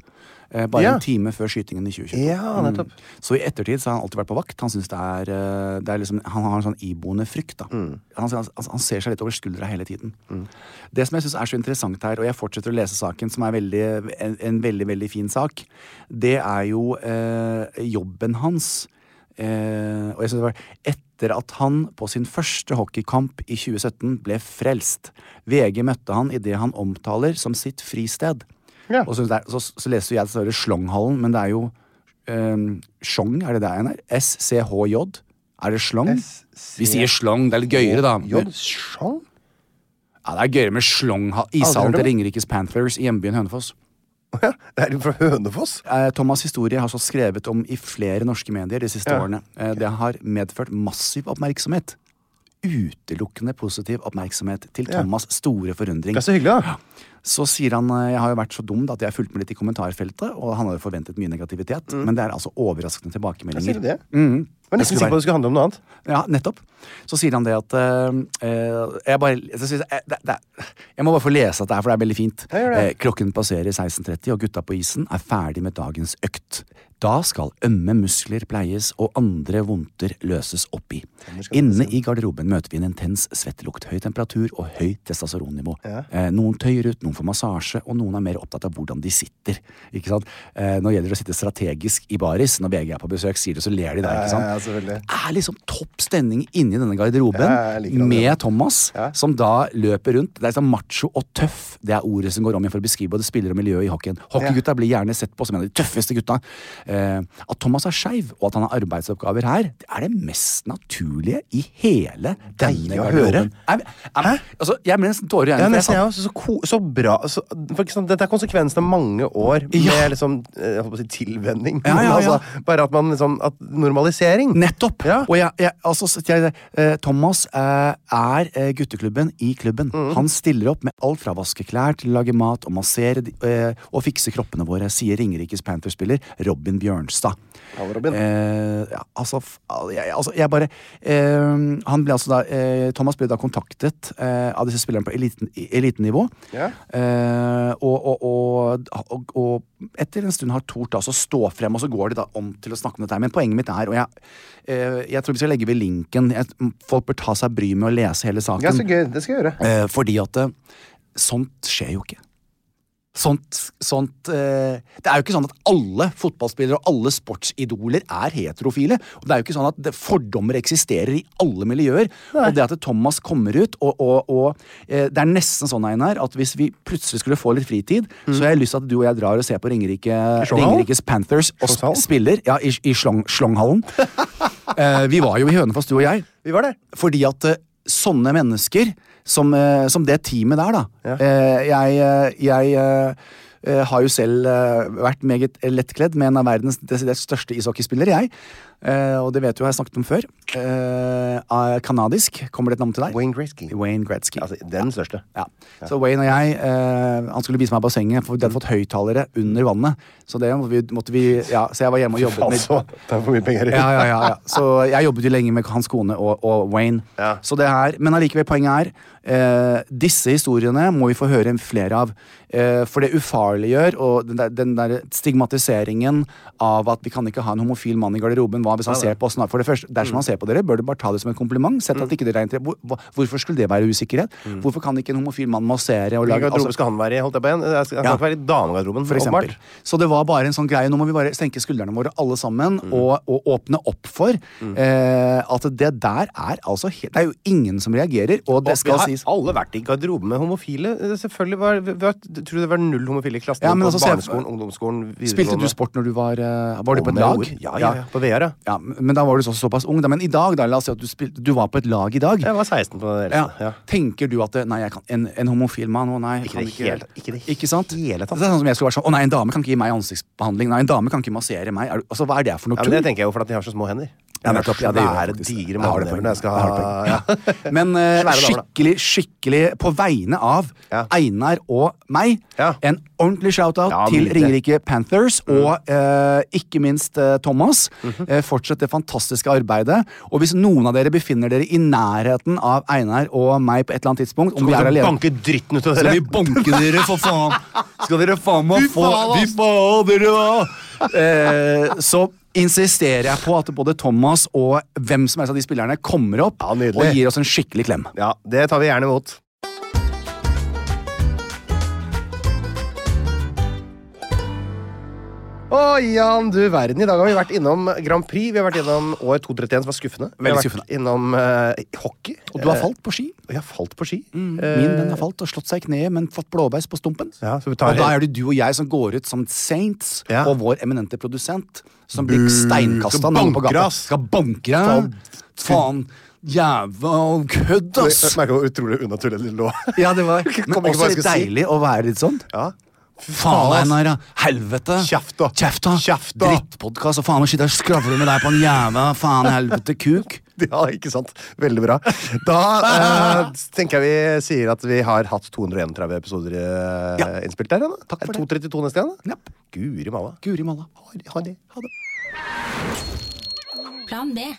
S1: eh, bare
S2: Ja.
S1: en time før skytingen i 2022.
S2: Ja, nettopp.
S1: Så i ettertid så har han alltid vært på vakt. Han, synes det er, eh, det er liksom, han har en sånn iboende frykt. Da. Han, han, han ser seg litt over skuldra hele tiden. Det som jeg syns er så interessant her, og jeg fortsetter å lese saken, som er veldig, en, en veldig veldig fin sak, det er jo eh, jobben hans. Eh, og jeg synes det var etter at han på sin første hockeykamp i 2017 ble frelst. VG møtte han i det han omtaler som sitt fristed.
S2: Ja.
S1: Og så, der, så, så leser jeg at det står Slonghallen, men det er jo um, Sjong, er det det en er? SCHJ? Er det Slong? Vi sier Slong, det er litt gøyere, da.
S2: J. Sjong?
S1: Ja, det er gøyere med Slong, ishallen
S2: hørt om
S1: til
S2: det.
S1: Ringerikes Panthers i hjembyen Hønefoss.
S2: Det er fra Hønefoss?
S1: Eh, Thomas' historie har så skrevet om i flere norske medier de siste årene. Eh, det har medført massiv oppmerksomhet. Utelukkende positiv oppmerksomhet til Thomas' store forundring.
S2: Det er så hyggelig, da.
S1: Så sier han eh, jeg har jo vært så dum da, at jeg har fulgt med litt i kommentarfeltet, og han hadde forventet mye negativitet, men det er altså overraskende tilbakemeldinger.
S2: Mm. Sier du det? Jeg var nesten sikker på at det skulle handle om noe annet.
S1: Mm. Ja, nettopp. Så sier han det at eh, eh, Jeg bare jeg, synes, jeg, eh, det, det, jeg må bare få lese dette her, for det er veldig fint. Eh, klokken passerer 16.30, og gutta på isen er ferdig med dagens økt. Da skal ømme muskler pleies og andre vondter løses opp i. Inne i garderoben møter vi en intens svettelukt, høy temperatur og høyt testosteronnivå. Eh, noen tøyer ut, noen for massasje, og noen er mer opptatt av hvordan de sitter. Ikke sant? Eh, Nå gjelder det å sitte strategisk i baris. Når VG er på besøk, sier det, så ler de der. ikke sant?
S3: Ja, ja, selvfølgelig.
S1: Det er liksom topp stemning inni denne garderoben
S3: Ja, jeg liker det.
S1: med Thomas, som da løper rundt. Det er liksom macho og tøff, det er ordet som går om igjen for å beskrive både spillere og miljøet i hockeyen. Hockeygutta blir gjerne sett på som en av de tøffeste gutta. Eh, at Thomas er skeiv, og at han har arbeidsoppgaver her, det er det mest naturlige i hele
S3: Deilig
S1: denne
S3: å
S1: garderoben.
S3: høre.
S1: Nei, men- nei, men, Altså, jeg ble nesten tårer i
S2: Ja,
S1: øynene. for jeg
S2: nesten
S1: satt-
S2: jeg også. Så, ko så bra. Så, for ikke sant, dette er konsekvensen av mange år med liksom, eh, jeg holdt på å si tilvenning.
S1: Ja, ja,
S2: Men
S1: ja.
S2: Altså, bare at man liksom at Normalisering.
S1: Nettopp!
S2: Ja.
S1: Og jeg, jeg, altså, så jeg, eh, Thomas eh, er eh, gutteklubben i klubben. Han stiller opp med alt fra å vaske klær til å lage mat og massere de- eh, og fikse kroppene våre, sier Ringerikes Panthers-spiller Robin Bjørnstad.
S3: Hallo, Robin.
S1: Eh, ja, altså, f- al- jeg, altså, jeg bare eh, Han ble altså da eh, Thomas ble da kontaktet eh, av disse spillerne på eliten, i- elitenivå.
S3: Ja.
S1: Eh, og, og, og, og, og etter en stund har tort altså stå frem, og så går de da om til å snakke om dette. her. Men poenget mitt er, og jeg, eh, jeg tror vi skal legge ved linken jeg, Folk bør ta seg bryet med å lese hele saken.
S3: Ja, så gøy. Det skal jeg gjøre.
S1: Eh, fordi at eh, sånt skjer jo ikke. Sånt, sånt eh, Det er jo ikke sånn at alle fotballspillere og alle sportsidoler er heterofile. Og det er jo ikke sånn at det, fordommer eksisterer i alle miljøer. Og det at Thomas kommer ut og, og, og eh, Det er nesten sånn Einar, at hvis vi plutselig skulle få litt fritid, så har jeg lyst til at du og jeg drar og ser på Ringerike,
S2: Slånghallen?
S1: Ringerikes Panthers og
S2: Slångshallen?
S1: sp- spiller ja, i, i slong, Slonghallen. eh, vi var jo i Hønefoss, du og jeg.
S2: Vi var der.
S1: Fordi at eh, sånne mennesker som, eh, som det teamet der, da eh, Jeg, eh, jeg eh, eh, har jo selv eh, vært meget lettkledd med en av verdens desidert største ishockeyspillere, jeg. Eh, og det vet du, har jeg snakket om før. Eh, er kanadisk. Kommer det et navn til deg?
S2: Wayne Gretzky.
S1: Wayne Gretzky.
S2: Altså, den største.
S1: Ja. Så Wayne og jeg eh, Han skulle vise meg bassenget, for de hadde fått høyttalere under vannet. Så det måtte vi, måtte vi ja, Så jeg var hjemme og jobbet med
S2: Altså, det er for mye penger.
S1: ja, ja, ja, ja. Så jeg jobbet jo lenge med hans kone og, og Wayne.
S2: Ja.
S1: Så det her, men allikevel, poenget er eh, Disse historiene må vi få høre flere av. Eh, for det ufarliggjør, og den der, den der stigmatiseringen av at vi kan ikke ha en homofil mann i garderoben. Hva hvis han ser på oss? nå? For det første,
S2: Mm.
S1: Dersom han ser på dere, bør du bare ta det som en kompliment. Sett at ikke dere er inter- Hvor, hva- hvorfor skulle det være usikkerhet? Hvorfor kan ikke en homofil mann massere og
S2: Hvilken
S1: lage
S2: garderobe skal han være Mm. i? holdt jeg på igjen? Han skal
S1: Altså- Ja.
S2: ikke være i damegarderoben.
S1: for eksempel.
S2: åpenbart.
S1: Så det var bare en sånn greie. Nå må vi bare senke skuldrene våre alle sammen
S2: Mm.
S1: og, og åpne opp for eh, at det der er altså helt Det er jo ingen som reagerer, og det
S2: Og vi
S1: skal
S2: har
S1: sies.
S2: alle vært i garderoben med homofile. Eh, Selvfølgelig var, vi- vi har- Tror du det var null homofile i klassen?
S1: Ja, men
S2: på
S1: altså, se-
S2: barneskolen, ungdomsskolen,
S1: Spilte
S2: videregående?
S1: du sport når du var eh, Var du på
S2: Om
S1: et lag?
S2: jeg gjorde? Ja, ja, ja. På VR, ja.
S1: Ja, men da var du så, såpass ung. Da. Men i dag, da, la oss si at du, spilte, du var på et lag i dag.
S2: Jeg var 16 på den eldste.
S1: Ja.
S2: Ja.
S1: Tenker du at det- Nei, jeg kan, en, en homofil mann Å nei. jeg
S2: Ikke
S1: kan
S2: det hele- ikke det
S1: sant?
S2: hele tatt.
S1: Det er sånn som jeg skulle vært sånn Å nei, en dame kan ikke gi meg ansiktsbehandling. Nei, en dame kan ikke massere meg. Er du, altså, Hva er det for noe
S2: Ja, men det tenker jeg jo fordi de har så små hender.
S1: Ja,
S2: Jeg har
S1: nettopp. Ja, det gjør
S2: svære,
S1: jeg faktisk.
S2: digre
S1: Der har du
S2: mannehender
S1: poeng.
S2: når jeg skal
S1: Der har du
S2: ha ja.
S1: poeng. Men eh,
S2: Svære damer, da.
S1: skikkelig, skikkelig på vegne av
S2: Ja.
S1: Einar og meg,
S2: Ja.
S1: en ordentlig shout-out
S2: Ja,
S1: til
S2: nydelig. Mm.
S1: Ringerike Panthers og eh, ikke minst eh, Thomas.
S2: Mhm.
S1: Eh, fortsett det fantastiske arbeidet. Og hvis noen av dere befinner dere i nærheten av Einar og meg på et eller annet tidspunkt om vi er
S2: Kommer til å
S1: alene
S2: banke dritten ut av
S1: skal
S2: dere.
S1: vi banke dere, for faen! Skal dere faen meg
S2: Fy
S1: få
S2: faen,
S1: Fy
S2: ass.
S1: faen, dere da! Eh, så insisterer jeg på at både Thomas og hvem som helst av de spillerne kommer opp
S2: Ja, nydelig.
S1: og gir oss en skikkelig klem.
S2: Ja, det tar vi gjerne imot. Å, Jan, du verden. I dag har vi vært innom Grand Prix. Vi har vært innom år 231, som var skuffende. Vi har
S1: Veldig
S2: vært
S1: skuffende.
S2: innom eh, hockey.
S1: Og du har
S2: Eh,
S1: falt på ski.
S2: og jeg har falt på ski.
S1: mm,
S2: Eh,
S1: Min den har falt og slått seg i kneet, men fått blåbeis på stumpen.
S2: Ja, så vi tar
S1: Og da er det du og jeg som går ut som saints,
S2: Ja. Mm,
S1: og vår eminente produsent som blir steinkasta
S2: Skal
S1: når han på
S2: banker,
S1: gata.
S2: ass.
S1: Skal bankre!
S2: Faen.
S1: Faen! Jævla kødd,
S2: Jeg
S1: ass!
S2: merker hvor utrolig unaturlig det lå.
S1: Ja, det var
S2: Kom
S1: Men
S2: ikke på hva
S1: også
S2: jeg
S1: litt
S2: skulle si.
S1: deilig å være litt sånn.
S2: Ja.
S1: Faen,
S2: ass.
S1: Einar. ja. Helvete.
S2: Kjeft, da.
S1: Kjeft, da.
S2: Kjeft, da.
S1: Drittpodkast. Og faen, jeg sitter og skravler med deg på en jævla faen helvete kuk.
S2: Ja, ikke sant? Veldig bra. Da eh, tenker jeg vi sier at vi har hatt 231 episoder eh,
S1: Ja.
S2: innspilt der. Da.
S1: Takk for
S2: Er
S1: det.
S2: 232 neste gang? da?
S1: Japp.
S2: Guri malla.
S1: Guri malla.
S2: Ha det.
S1: Ha det.
S4: Plan B.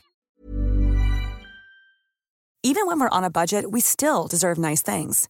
S5: Even when we're on a budget, we still deserve nice things.